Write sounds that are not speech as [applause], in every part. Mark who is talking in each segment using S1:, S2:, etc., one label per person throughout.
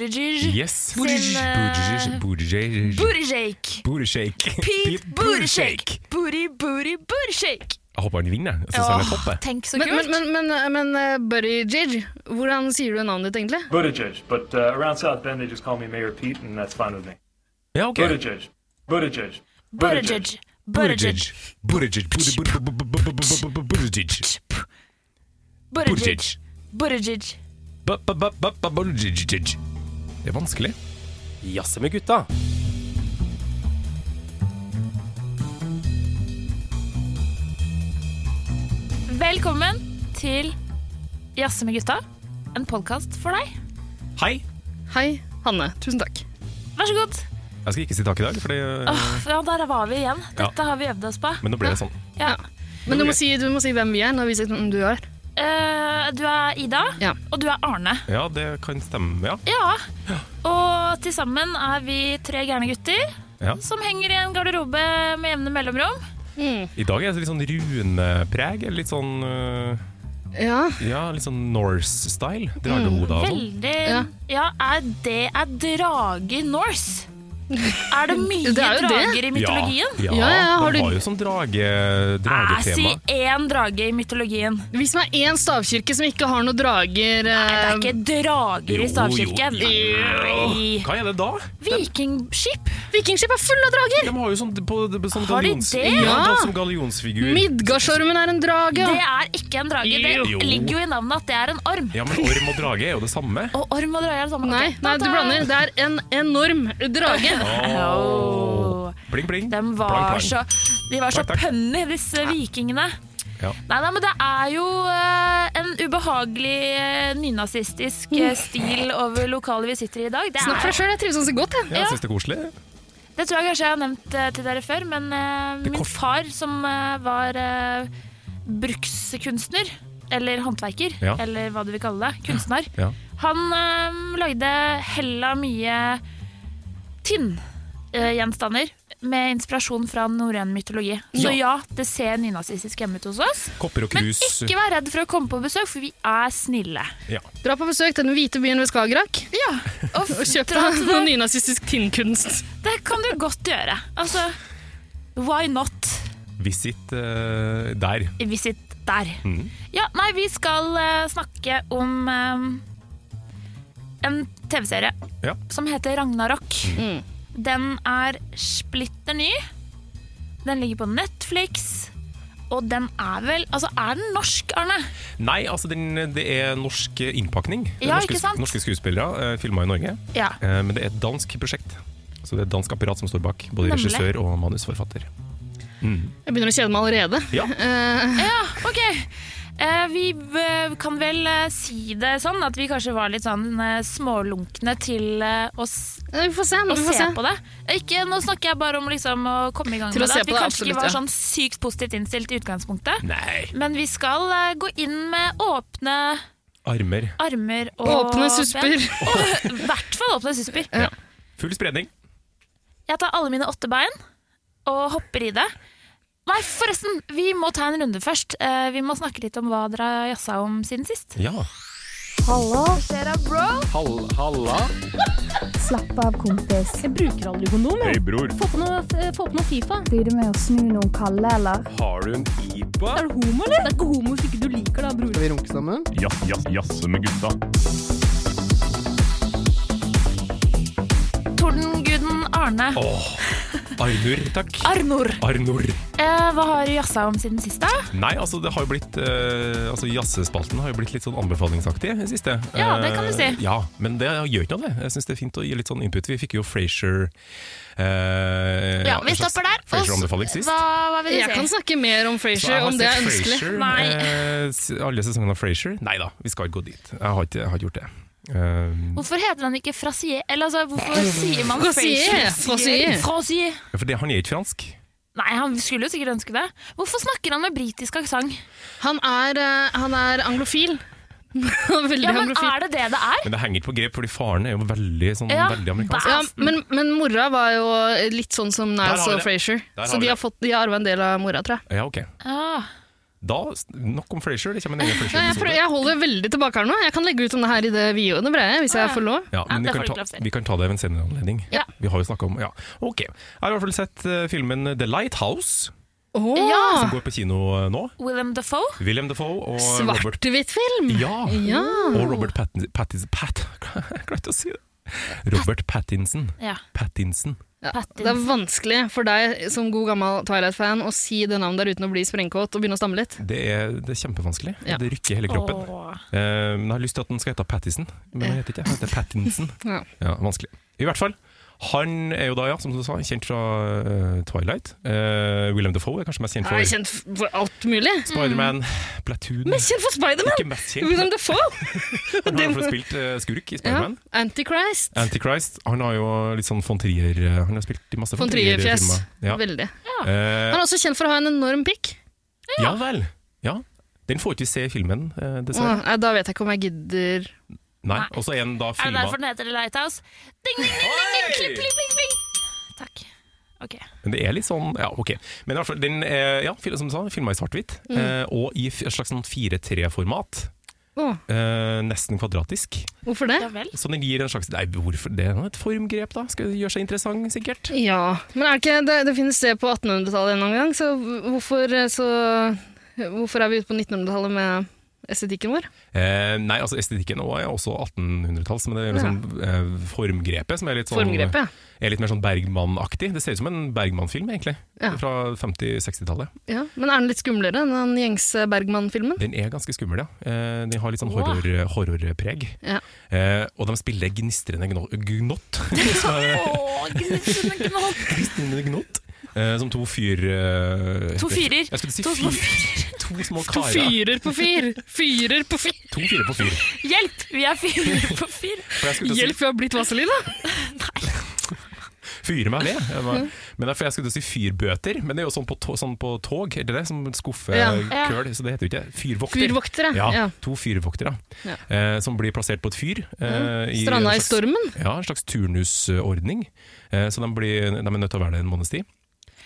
S1: Buttigieg
S2: Yes.
S1: Sin, eh,
S2: Buttigieg, Buttigieg,
S1: Bootygake!
S2: Bootygake.
S1: Pete Bootygake! Booty, booty, bootygake!
S2: Jeg håper han vinner. Jeg synes han er
S1: Åh,
S2: toppe.
S1: tenk så
S3: Men,
S1: kult!
S3: men, men, men, men eh, Buddy Jig, hvordan sier du navnet ditt egentlig?
S4: Buttigieg, but uh, around South Bend they just call me Mayor Pete, and that's fine with me.
S2: Ja, ok.
S4: Buttigieg, Buttigieg,
S1: Buttigieg. Buttigieg.
S2: Buttigieg. Buttigieg. Buttigieg. Buttigieg.
S1: Buttigieg.
S2: Buttigieg.
S1: Buttigieg.
S2: Buttigieg. Det er vanskelig.
S5: Jazze med gutta.
S1: Velkommen til Jazze med gutta, en podkast for deg.
S2: Hei.
S3: Hei, Hanne. Tusen takk.
S1: Vær så god.
S2: Jeg skal ikke si takk i dag, fordi,
S1: Åh, ja, der var vi igjen.
S2: Ja.
S1: Dette har vi øvd oss på.
S2: men nå ble det sånn.
S1: Ja.
S3: Men du må si, du må si hvem vi er, når vi sier hvem du er.
S1: Eh, du er Ida,
S3: Ja.
S1: og du er Arne.
S2: Ja, det kan stemme. Ja.
S1: Ja. Og til sammen er vi tre gærne gutter
S2: Ja.
S1: som henger i en garderobe med jevne mellomrom.
S2: I dag er det litt sånn runepreg. eller Litt sånn øh,
S3: Ja.
S2: ja, litt sånn Norse-style. Dragehoder og sånn.
S1: Veldig
S3: Ja.
S1: Ja, er det er drager Norse? Er det
S3: [laughs]
S1: mye
S3: Det er jo det.
S1: drager i mytologien?
S2: Ja,
S3: Ja,
S2: ja,
S3: ja, har
S2: de
S3: du-
S2: har jo sånn drage,
S1: Jeg
S2: dragetema.
S1: sier én drage i mytologien.
S3: Hvis man er én stavkirke som ikke har noen drager
S1: Nei, det er
S3: eh,
S1: ikke drager
S2: Jo,
S1: i stavkirken.
S2: jo,
S1: Nei.
S2: Hva er det da?
S1: Vikingskip?
S3: Vikingskip er full av drager!
S2: De har jo sånn, på, på, sånn
S1: Har de
S2: gallions-
S1: det?
S2: Ja,
S3: Ja.
S2: da, som gallionsfigur.
S3: Midgardsormen er en drage.
S1: Det er ikke en drage.
S2: Jo.
S1: Det ligger jo i navnet at det er en orm.
S2: Ja, men orm og drage er jo det samme.
S1: Og orm og drage er det samme.
S3: Nei,
S1: Ok,
S3: nei, du
S1: ta-ta.
S3: blander. Det er en enorm drage.
S1: Åh.
S2: Bling, bling.
S1: De var
S2: Plang, plang.
S1: så, de var så
S2: Takk, takk.
S1: pønny, disse vikingene.
S2: Ja.
S1: Nei, nei, men det er jo eh, en ubehagelig eh, nynazistisk eh, stil over lokalet vi sitter i i dag. Det,
S3: Snakk for
S1: er,
S3: deg sjøl, jeg trives ganske godt. Jeg.
S2: Ja, jeg synes det er koselig.
S1: det tror jeg kanskje jeg har nevnt eh, til dere før, men eh,
S2: Det er
S1: min
S2: kort.
S1: far som eh, var eh, brukskunstner, eller håndverker,
S2: Ja.
S1: eller hva du vil kalle det, kunstner,
S2: Ja.
S1: han eh, lagde hella mye tynngjenstander med inspirasjon fra norrøn mytologi. Så ja, det ser nynazistisk hjemme ut hos oss.
S2: Kopper og
S1: Men
S2: krus.
S1: ikke vær redd for å komme på besøk, for vi er snille.
S2: Ja.
S3: Dra på besøk til den hvite byen ved Skagerrak
S1: Ja, og
S3: og kjøp
S1: dra
S3: deg
S1: til
S3: noe
S1: noen-
S3: nynazistisk tinnkunst.
S1: Det kan du godt gjøre. Altså, why not?
S2: Visit eh, der.
S1: Visit der. Ja, nei, vi skal eh, snakke om eh, en TV-serie
S2: Ja.
S1: som heter Ragnarok. Den er splitter ny. Den ligger på Netflix. Og den er vel Altså, er den norsk, Arne?
S2: Nei, altså den, det er norsk innpakning. Det er
S1: Ja,
S2: norske,
S1: ikke sant?
S2: norske skuespillere uh, filma i Norge.
S1: Ja.
S2: Eh, men det er et dansk prosjekt. Så det er et dansk apparat som står bak. Både
S1: Nemlig.
S2: regissør og manusforfatter.
S3: Jeg begynner å kjede meg allerede.
S2: Ja.
S5: [laughs]
S3: Eh,
S1: Ja, ok. Eh, vi eh, kan vel eh, si det sånn at vi kanskje var litt sånn eh, smålunkne til eh, å, s-
S3: vi får se.
S1: å
S3: Vi
S1: se,
S3: får se.
S1: på det. Eh, Ikke, nå snakker jeg bare om liksom, å komme i gang
S3: Til å
S1: med
S3: se
S1: det. At
S3: på
S1: vi
S3: det,
S1: kanskje
S3: absolutt,
S1: ikke var
S3: ja.
S1: sånn sykt positivt innstilt i utgangspunktet.
S2: Nei!
S1: Men vi skal eh, gå inn med åpne
S2: Armer.
S1: armer og
S3: Åpne susper.
S1: I hvert fall åpne susper.
S2: Ja. Full spredning.
S1: Jeg tar alle mine åtte bein og hopper i det. Nei, forresten, vi må ta en runde først. Eh, vi må snakke litt om hva dere har jazza om siden sist.
S2: Ja.
S6: Slapp av, kompis.
S5: Hei, bror.
S6: Blir du med å snu noen kalde, eller?
S5: Har du en IPA?
S7: Skal vi runke sammen?
S5: jazze med gutta.
S1: Tordenguden Arne.
S2: Åh. Arnor, takk.
S1: Arnor.
S2: Arnor.
S1: Eh, hva har du jazza om siden sist, da?
S2: Nei, altså det har jo blitt eh, Altså Jazzespalten har jo blitt litt sånn anbefalingsaktig i det siste.
S1: Ja, det kan du si.
S2: Eh, ja, Men det gjør ikke noe, det. Jeg syns det er fint å gi litt sånn input. Vi fikk jo Frasier eh,
S1: Ja, vi
S2: en slags
S1: stopper der. Og s-
S2: Frasier-anbefaling sist.
S1: Hva, hva vil du
S3: Jeg kan
S1: si?
S3: snakke mer om
S2: Så jeg
S3: Frasier
S2: har
S3: om det er
S2: sett
S3: ønskelig.
S2: Frasier,
S1: Nei.
S2: eh, s- alle sesongene av Frasier. Nei da, vi skal ikke gå dit. Jeg har ikke, jeg har ikke gjort det. Eh,
S1: Hvorfor heter han ikke Frasier? Eller altså, hvorfor sier man
S3: Frasier, Frasier.
S1: Frasier.
S2: for det, han er ikke fransk.
S1: Nei, han skulle jo sikkert ønske det. Hvorfor snakker han med britisk aksent?
S3: Han er, eh, han er anglofil. [laughs] Han er Veldig
S1: Ja, men
S3: anglofil.
S1: er det det det er?
S2: Men det henger ikke på grep, fordi faren er jo veldig, sånn,
S1: Ja.
S2: veldig amerikansk.
S3: Ja, men, men mora var jo litt sånn som
S2: Der
S3: Niles
S2: har vi
S3: og
S2: det.
S3: Frasier.
S2: Der har
S3: Så
S2: vi
S3: de
S2: det.
S3: har, fått- de har arva en del av mora, tror jeg.
S2: Ja, ok.
S1: Ah,
S2: Da, Nok om Frasier. Det kommer en egen
S3: Nei, jeg, prøver,
S2: Frasier-episode.
S3: jeg holder veldig tilbake her nå. Jeg kan legge ut om det her i det videoene breie, hvis jeg får lov.
S2: Ja, men
S1: Ja, det får
S2: vi kan,
S1: du ikke
S2: ta,
S1: lov til.
S2: vi kan ta det ved en senere anledning.
S1: Ja.
S2: Vi har jo snakka om Ja, ok. Jeg har i hvert fall sett eh, filmen The Lighthouse.
S3: Åh,
S1: Ja.
S2: Går på kino eh, nå.
S1: Willem Dafoe.
S2: William Defoe og Robert
S3: Svart-hvitt-film!
S2: Ja!
S3: Ja.
S2: Og Robert Pattinson Pattis, Pat, [laughs] Jeg klarte å si det. Robert Pattinson.
S1: Ja.
S2: Pattinson.
S3: Det er vanskelig for deg som god gammel Twilight-fan å si det navnet der uten å bli sprengkåt og begynne å stamme litt.
S2: Det er, det er kjempevanskelig.
S3: Ja.
S2: Det rykker i hele kroppen.
S1: Åh.
S2: Eh, men jeg har lyst til at den skal hete Pattison, men den heter ikke det. Den heter Pattinson.
S3: Ja.
S2: Ja, vanskelig. I hvert fall. Han er jo da, ja, som du sa, kjent fra eh, Twilight. Eh, William Defoe er kanskje mest kjent
S3: Jeg
S2: for
S3: er kjent for alt mulig.
S2: Spiderman, Platoon
S3: Mest kjent for Spiderman!
S2: Ikke mest
S3: [laughs]
S2: kjent, men
S3: William Defoe!
S2: han har i hvert fall spilt eh, skurk i
S3: Ja.
S2: Spiderman.
S3: Antichrist.
S2: Antichrist. Han har jo litt sånn von Trier eh, Han har spilt i masse
S3: Von Trier-fjes.
S2: filmer. Ja.
S3: Veldig.
S2: Eh,
S3: Han er også kjent for å ha en enorm pikk.
S2: ja vel. Ja. Den får ikke vi se i filmen, eh, dessverre.
S3: Åh, nei, Da vet jeg ikke om jeg gidder
S2: Nei. Og så er den da
S1: Er det
S2: filma
S1: derfor den heter The Lighthouse? Ding, ding, ding, ding, ding. Klipp, klipp, klipp, klipp. Takk. Ok.
S2: Men det er litt sånn Ja, ok. Men i hvert fall, den er ja, fil- som du sa, filma i svart-hvitt, eh, og i f- et slags sånn 4-3-format.
S3: Åh,
S2: eh, nesten kvadratisk.
S3: Hvorfor det?
S1: Ja vel.
S2: Så den gir en slags Nei, hvorfor det? er nå Et formgrep, da. Skal gjøre seg interessant, sikkert.
S3: Ja, men er det ikke Det, det finnes det på 1800-tallet en eller annen gang, så hvorfor, eh, så hvorfor er vi ute på 1900-tallet med estetikken vår?
S2: Eh, nei, altså estetikken også er også 1800-talls, men det er liksom eh, formgrepet som er litt sånn
S3: Formgrepet.
S2: er litt mer sånn Bergman-aktig. Det ser ut som en Bergman-film, egentlig.
S3: Ja.
S2: Fra 50-60-tallet.
S3: Ja, Men er den litt skumlere enn den gjengse Bergman-filmen?
S2: Den er ganske skummel, ja. Eh, Den har litt sånn
S1: Wow.
S2: horror, horrorpreg.
S3: Ja.
S2: Eh, og de spiller gnistrende gno- gnott. [laughs] som er-
S1: Åh, gnissende knoll.
S2: gnistrende gnott. Eh, som to fyr... eh,
S1: To fyrer.
S2: Jeg skulle si
S1: To små
S2: fyr. To små
S3: To
S2: karer.
S3: fyrer på fyr! Fyrer på fyr!
S2: To fyrer på fyr.
S1: Hjelp! Vi er fire [laughs] på fire.
S2: For jeg skulle til å
S3: Hjelp, vi har blitt Vazelina!
S2: si fyre meg ved. Jeg var- Men derfor jeg skulle til å si fyrbøter, men det er jo sånn på, to, sånn på tog, er det det? Som skuffe
S3: Ja.
S1: Ja.
S2: køl, så det heter jo ikke det. Fyrvokter.
S3: Fyrvoktere.
S2: Ja,
S3: Ja.
S2: to fyrvoktere
S3: Ja.
S2: eh, som blir plassert på et fyr. Eh, i en
S3: Stranda i
S2: slags-
S3: stormen.
S2: Ja, en slags turnusordning. Eh, så de, blir, de er nødt til å være der en måneds tid.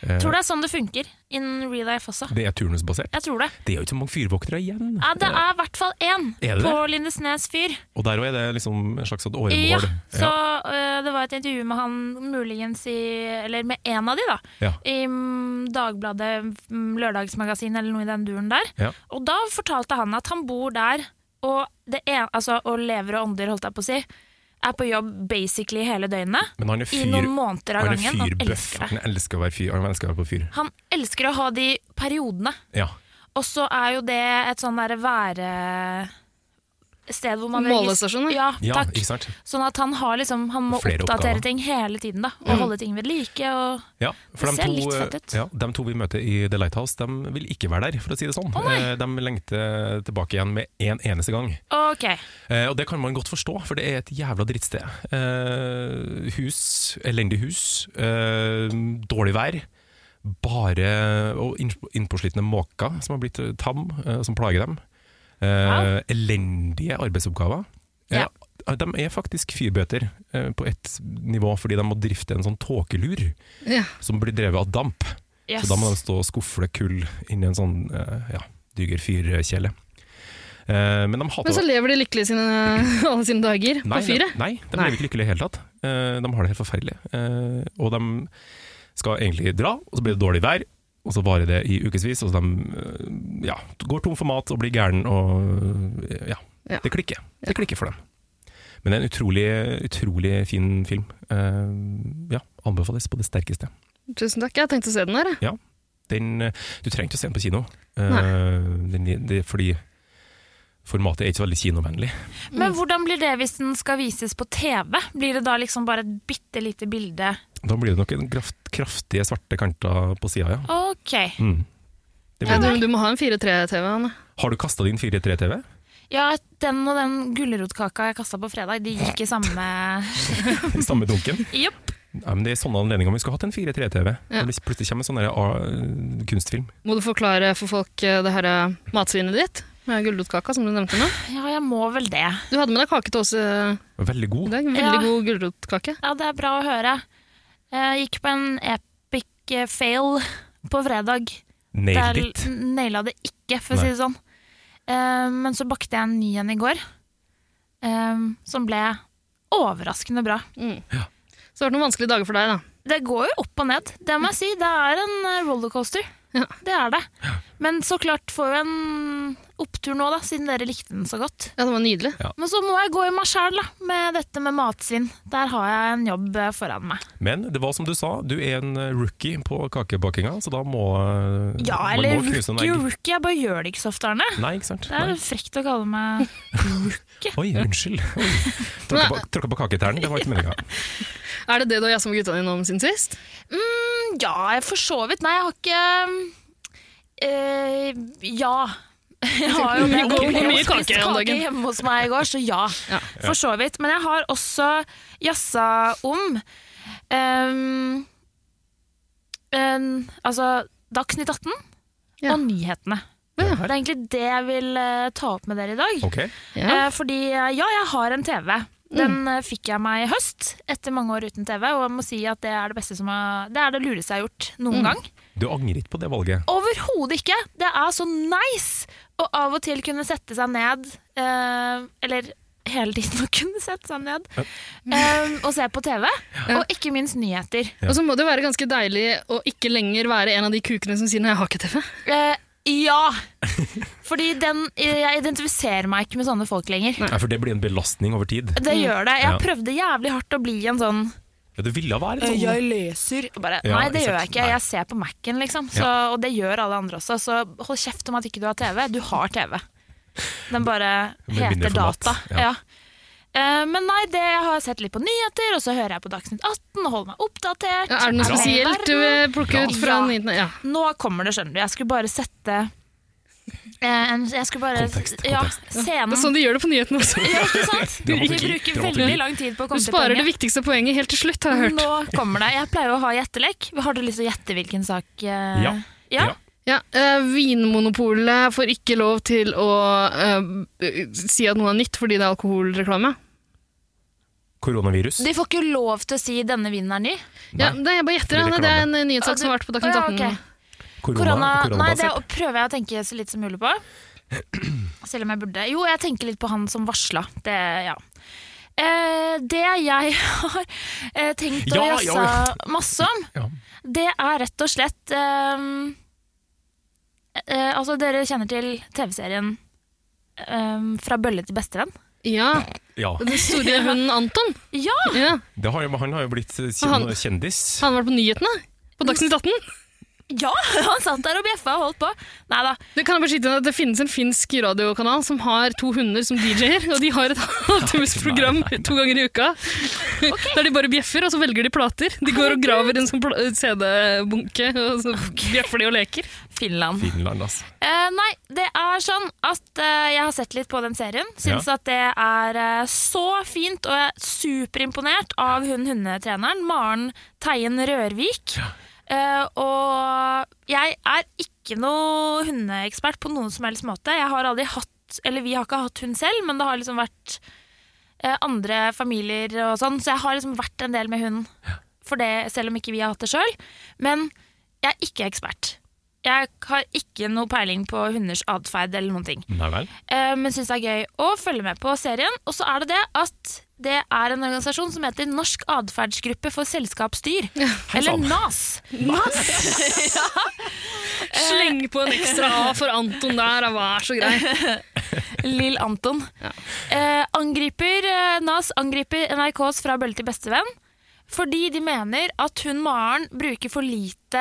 S2: Eh,
S1: Tror det er sånn det funker in real life også.
S2: det er turnusbasert.
S1: Jeg tror det.
S2: Det er jo ikke så mange fyrvoktere igjen.
S1: Ja, det er i hvert fall én
S2: Er det
S1: på Lindesnes fyr.
S2: Og der òg er det liksom en slags sånn åremål.
S1: Ja, så øh, det var et intervju med han muligens i Eller med en av de, da.
S2: Ja.
S1: I mm, Dagbladet, mm, Lørdagsmagasin eller noe i den duren der.
S2: Ja.
S1: Og da fortalte han at han bor der, og, det en, altså, og lever og ånder, holdt jeg på å si, er på jobb basically hele døgnet.
S2: Men han er
S1: I
S2: fyr...
S1: noen måneder av
S2: Han er
S1: gangen. Han
S2: fyrbøff.
S1: elsker det.
S2: Han elsker å være fyr. Han elsker å være på fyr.
S1: Han elsker å ha de periodene.
S2: Ja.
S1: Og så er jo det et sånn derre være... Sted hvor man
S3: Målestasjon,
S1: registrer- Ja,
S2: ja,
S1: takk.
S2: ikke sant?
S1: Sånn at han har liksom Han må
S2: Flere
S1: oppdatere
S2: oppgaver. Mm.
S1: ting hele tiden, da. Og holde ting ved like. Og
S2: Ja, for
S1: Det ser
S2: de to,
S1: litt fett ut.
S2: Ja, de to vi møter i The Lighthouse, de vil ikke være der, for å si det sånn.
S1: Å, nei.
S2: Eh, de lengter tilbake igjen med en eneste gang.
S1: OK.
S2: Eh, og det kan man godt forstå, for det er et jævla drittsted. Eh, hus, elendig hus, eh, dårlig vær. Bare og inn- innpåslitne måker som har blitt eh, tam, eh, som plager dem. Eh, Elendige arbeidsoppgaver.
S1: Ja.
S2: Eh, de er faktisk fyrbøter eh, på ett nivå, fordi de må drifte en sånn tåkelur
S3: Ja.
S2: som blir drevet av damp.
S1: Yes.
S2: Så da må de stå og skufle kull inn i en sånn eh, ja, dyger fyrkjele. Eh, men de hater
S3: Men så lever de lykkelig sine, alle sine [laughs] dager på
S2: Nei,
S3: fyret.
S2: de- Nei, de
S3: Nei.
S2: lever ikke lykkelig i det hele tatt. Eh, De har det helt forferdelig. Eh, Og de skal egentlig dra, og så blir det dårlig vær. Og så varer det i ukevis, og så de eh, ja, går tom for mat og blir gæren. Og eh, ja,
S3: Ja.
S2: det klikker. Det klikker for dem. Men det er en utrolig, utrolig fin film. Eh, Ja, anbefales på det sterkeste.
S3: Tusen takk, jeg har tenkt å se den her. jeg.
S2: Den, eh, du trenger ikke å se den på kino, Eh, den, det, er fordi formatet er ikke så veldig kinovennlig.
S1: Men hvordan blir det hvis den skal vises på TV? Blir det da liksom bare et bitte lite bilde?
S2: Da blir det nok en kraft, kraftige svarte kanter på sida, ja.
S1: OK.
S2: Mm. Det
S3: Ja,
S2: blir
S3: du,
S2: det.
S3: du må ha en 4-3-TV, Anne.
S2: Har du kasta din 4-3-TV?
S1: [laughs] Ja, den og den gulrotkaka jeg kasta på fredag, de gikk i samme
S2: I samme dunken?
S1: Jopp.
S2: Nei, men det er sånne anledninger vi skulle hatt en 4-3-TV.
S3: Ja.
S2: Når det Plutselig kommer en sånn der, ah, kunstfilm.
S3: Må du forklare for folk eh, det her eh, matsvinet ditt med gulrotkaka, som du nevnte nå?
S1: Ja, jeg må vel det.
S3: Du hadde med deg kake til oss eh,
S2: Veldig
S3: i
S2: god.
S3: dag. Veldig
S1: Ja.
S3: god gulrotkake.
S1: Ja, det er bra å høre. Jeg gikk på en epic eh, fail på fredag
S2: Nailed
S1: Der
S2: it.
S1: n- naila det ikke, for å si
S2: Nei.
S1: det sånn. Eh, men så bakte jeg en ny en i går, eh, som ble overraskende bra.
S3: Mm. Så det har vært noen vanskelige dager for deg, da.
S1: Det går jo opp og ned, det må jeg si. Det er en eh, rollercoaster.
S3: Ja.
S1: Det er det. Men så klart får jo en opptur nå, da, siden dere likte den så godt.
S3: Ja, det var nydelig.
S1: Men så må jeg gå i meg sjæl, da, med dette med matsvinn. Der har jeg en jobb eh, foran meg.
S2: Men det var som du sa, du er en eh, rookie på kakebakinga, så da må eh,
S1: Ja,
S2: man
S1: eller
S2: må knuse noen
S1: rookie og
S2: egg.
S1: rookie. Jeg bare gjør det ikke så ofte, Arne.
S2: Nei, ikke sant?
S1: Det er
S2: Nei.
S1: frekt å kalle meg
S2: Oi, unnskyld.
S1: [laughs]
S2: Oi. Tråkka på, tråkka på kaketærne, det var ikke meninga.
S3: Er det det du har jazza med gutta dine om siden sist?
S1: Ja, for så vidt. Nei, jeg har ikke eh, Ja. [laughs] Jeg har jo det.
S3: Hvor- hvor
S1: Jeg
S3: mye
S1: spiste
S3: kake om dagen?
S1: hjemme hos meg i går, så ja.
S3: Ja.
S1: For så vidt. Men jeg har også jazza om ehm, en- Altså Dagsnytt 18
S3: Ja.
S1: og nyhetene.
S3: Ja.
S1: Det er egentlig det jeg vil eh, ta opp med dere i dag.
S2: Ok,
S3: Ja.
S1: Eh, fordi eh, ja, jeg har en TV. Den
S2: Mm.
S1: eh, fikk jeg meg i høst, etter mange år uten TV. Og jeg må si at det er det, beste som har, det, er det lureste jeg har gjort noen
S2: Mm.
S1: gang.
S2: Du angrer ikke på det valget?
S1: Overhodet ikke! Det er så nice å av og til kunne sette seg ned, eh, eller hele tiden [laughs] å kunne sette seg ned, eh, og se på TV. Og ikke minst nyheter.
S3: Og så må det jo være ganske deilig å ikke lenger være en av de kukene som sier 'nei, jeg har ikke TV'.
S1: Eh, ja! Fordi den, eh, jeg identifiserer meg ikke med sånne folk lenger.
S2: Nei, for det blir en belastning over tid.
S1: Det gjør det. Jeg
S2: Ja.
S1: prøvde jævlig hardt å bli en sånn
S2: Ja, du ville være en sånn.
S1: Jeg leser bare,
S2: Ja,
S1: Nei, det
S2: ikke
S1: gjør jeg
S2: sant.
S1: ikke.
S2: Nei.
S1: Jeg ser på Mac-en, liksom. Så, Og det gjør alle andre også. Så hold kjeft om at ikke du har TV. Du har TV. Den bare
S2: Med
S1: heter
S2: mindre format,
S1: data.
S2: ja.
S1: Ja. Eh, men nei, det jeg har sett litt på nyheter, og så hører jeg på Dagsnytt 18 og holder meg oppdatert.
S3: Ja, er det noe
S1: med i
S3: spesielt du
S1: verden?
S3: vil plukke ut fra
S1: Ja.
S3: den? Ja.
S1: Nå kommer det, skjønner du. Jeg skulle bare sette eh, en, Jeg skulle bare
S2: Kontekst,
S1: Ja,
S2: kontekst.
S3: Det
S1: scenen.
S3: er sånn de gjør det på nyhetene også.
S1: Ja, ikke sant? Vi
S2: Dramaturgi,
S1: bruker
S2: dramaturgi.
S1: veldig lang tid på å
S3: Du
S1: komme til
S3: sparer
S1: poenget.
S3: det viktigste poenget helt til slutt, har jeg hørt.
S1: Nå kommer det. Jeg pleier å ha gjettelek. Har du lyst til å gjette hvilken sak? eh,
S2: Ja.
S1: ja?
S2: Ja.
S3: Ja, eh, Vinmonopolet får ikke lov til å eh, si at noe er nytt fordi det er alkoholreklame.
S2: Koronavirus.
S1: De får ikke lov til å si 'denne vinen er ny'?
S3: Ja, det, jeg bare
S2: Det
S3: gjetter,
S2: er
S3: det, det er en eh, nyhetssak som har vært på Dagsnytt
S1: Å,
S3: 18.
S1: ja, ok. Korona, nei, det prøver jeg å tenke så lite som mulig på.
S2: [clears throat]
S1: Selv om jeg burde. Jo, jeg tenker litt på han som varsla. Det, ja. eh, det jeg [laughs] har eh, tenkt å
S2: Ja,
S1: jazza
S2: ja.
S1: masse om,
S2: Ja.
S1: det er rett og slett eh, eh, Altså, dere kjenner til TV-serien eh, Fra bølle til bestevenn?
S3: Ja,
S2: Ja.
S3: Den
S1: [laughs]
S3: store hunden Anton.
S1: Ja!
S3: Ja,
S2: Det har, han har jo blitt
S3: Han-
S2: kjen, kjendis.
S3: han har vært på nyhetene på Dagsnytt 18.
S1: ja! [laughs] Han satt der og bjeffa og holdt på. Nei da.
S3: Det, kan jeg bare skyte inn at det finnes en finsk radiokanal som har to hunder som DJ-er, og de har et halvtimesprogram to ganger i uka. Der de bare bjeffer, og så velger de plater. De går og graver en sånn pla- CD-bunke, og så bjeffer de og leker.
S1: Finland.
S2: Finland, altså.
S1: Eh, nei, det er sånn at eh, jeg har sett litt på den serien. Syns at det er eh, så fint, og jeg er superimponert av hun hundetreneren, Maren Teien Rørvik. Eh, og jeg er ikke noe hundeekspert på noen som helst måte. Jeg har aldri hatt, eller vi har ikke hatt hund selv, men det har liksom vært eh, andre familier og sånn, så jeg har liksom vært en del med hund for det, selv om ikke vi har hatt det sjøl. Men jeg er ikke ekspert. Jeg har ikke noe peiling på hunders atferd eller noen ting.
S2: Nei vel.
S1: Eh, Men syns det er gøy å følge med på serien. Og så er det det at det er en organisasjon som heter Norsk atferdsgruppe for selskapsdyr. [laughs] Eller
S2: sann.
S1: NAS.
S3: Sleng på en ekstra A for Anton der, og vær så grei.
S1: Lill Anton. Eh, angriper eh, NAS angriper NRKs Fra bølle til bestevenn fordi de mener at hun Maren bruker for lite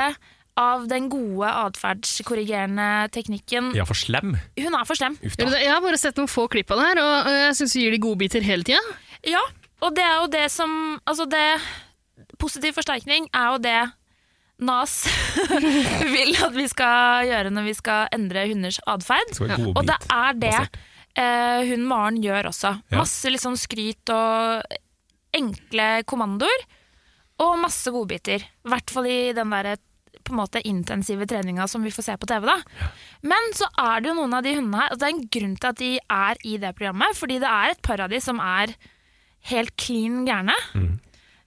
S1: av den gode atferdskorrigerende teknikken.
S2: Ja, for slem.
S1: Hun er for slem.
S2: Uff
S3: Gjør
S2: da.
S3: du det? Jeg har bare sett noen få klipp av det her, og eh, jeg syns vi gir de godbiter hele tida.
S1: Ja, og det er jo det som Altså det Positiv forsterkning er jo det NAS [laughs] vil at vi skal gjøre når vi skal endre hunders atferd.
S2: Skal være god
S1: Og det
S2: bit.
S1: er det
S2: basert.
S1: eh, hun Maren gjør også.
S2: Ja.
S1: Masse liksom skryt og enkle kommandoer. Og masse godbiter. I hvert fall i den der på en måte intensive treninga som vi får se på TV. da. Men så er det jo noen av de hundene her, og det er en grunn til at de
S2: Mm.
S1: er i det programmet. Fordi det er et par av de som er helt klin gærne.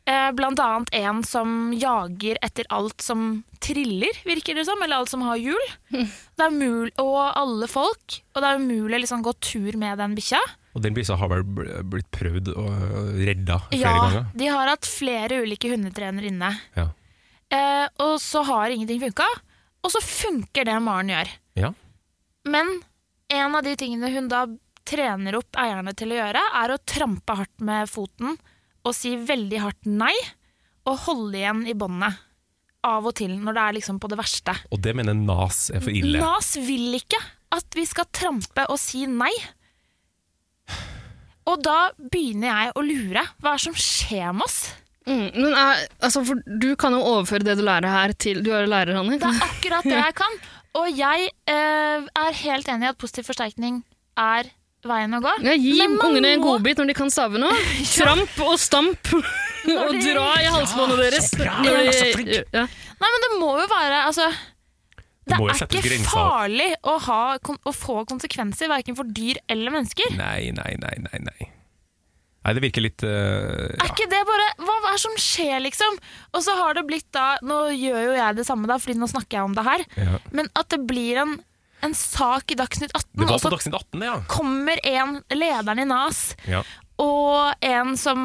S1: eh, blant annet en som jager etter alt som triller, virker det som, eller alt som har hjul. Det er mul og alle folk, og det er umulig å liksom gå tur med den bikkja.
S2: Og den bikkja har vel bl- blitt prøvd og redda flere
S1: Ja,
S2: ganger.
S1: de har hatt flere ulike hundetrenere inne.
S2: Ja.
S1: Eh, og så har ingenting funka, og så funker det Maren gjør.
S2: Ja.
S1: Men en av de tingene hun da trener opp eierne til å gjøre, er å trampe hardt med foten og si veldig hardt nei, og holde igjen i båndet. Av og til, når det er liksom på det verste.
S2: Og det mener Nas er for ille.
S1: Nas vil ikke at vi skal trampe og si nei. Og da begynner jeg å lure. Hva er det som skjer med oss?
S3: Mm, men er, altså, for du kan jo overføre det du lærer her til Du er jo lærer, Hanni.
S1: Det er akkurat det jeg kan. Og jeg eh, er helt enig i at positiv forsterkning er veien å gå.
S3: Ja, gi
S1: Men man
S3: ungene en
S1: må-
S3: godbit når de kan stave [laughs] nå. Tramp og stamp [laughs] og
S1: Når de-
S3: dra i halsbåndet deres.
S2: bra,
S3: Når de-
S2: så flink.
S3: Ja.
S1: Nei, men det må jo være altså, Det
S2: må jo
S1: er
S2: settes
S1: ikke
S2: grenser.
S1: farlig å, ha, kon- å få konsekvenser, verken for dyr eller mennesker.
S2: Nei, nei, nei, nei, nei. Nei, det virker litt eh,
S1: Er ikke det bare Hva hva er det som skjer, liksom? Og så har det blitt da Nå gjør jo jeg det samme, da, fordi nå snakker jeg om det her.
S2: ja. ja.
S1: Men at det blir en, en sak i Dagsnytt 18,
S2: Det
S1: og
S2: var på
S3: altså-
S1: så
S2: Dagsnytt 18, det, ja.
S1: kommer en lederen i NAS
S2: ja.
S1: Og en som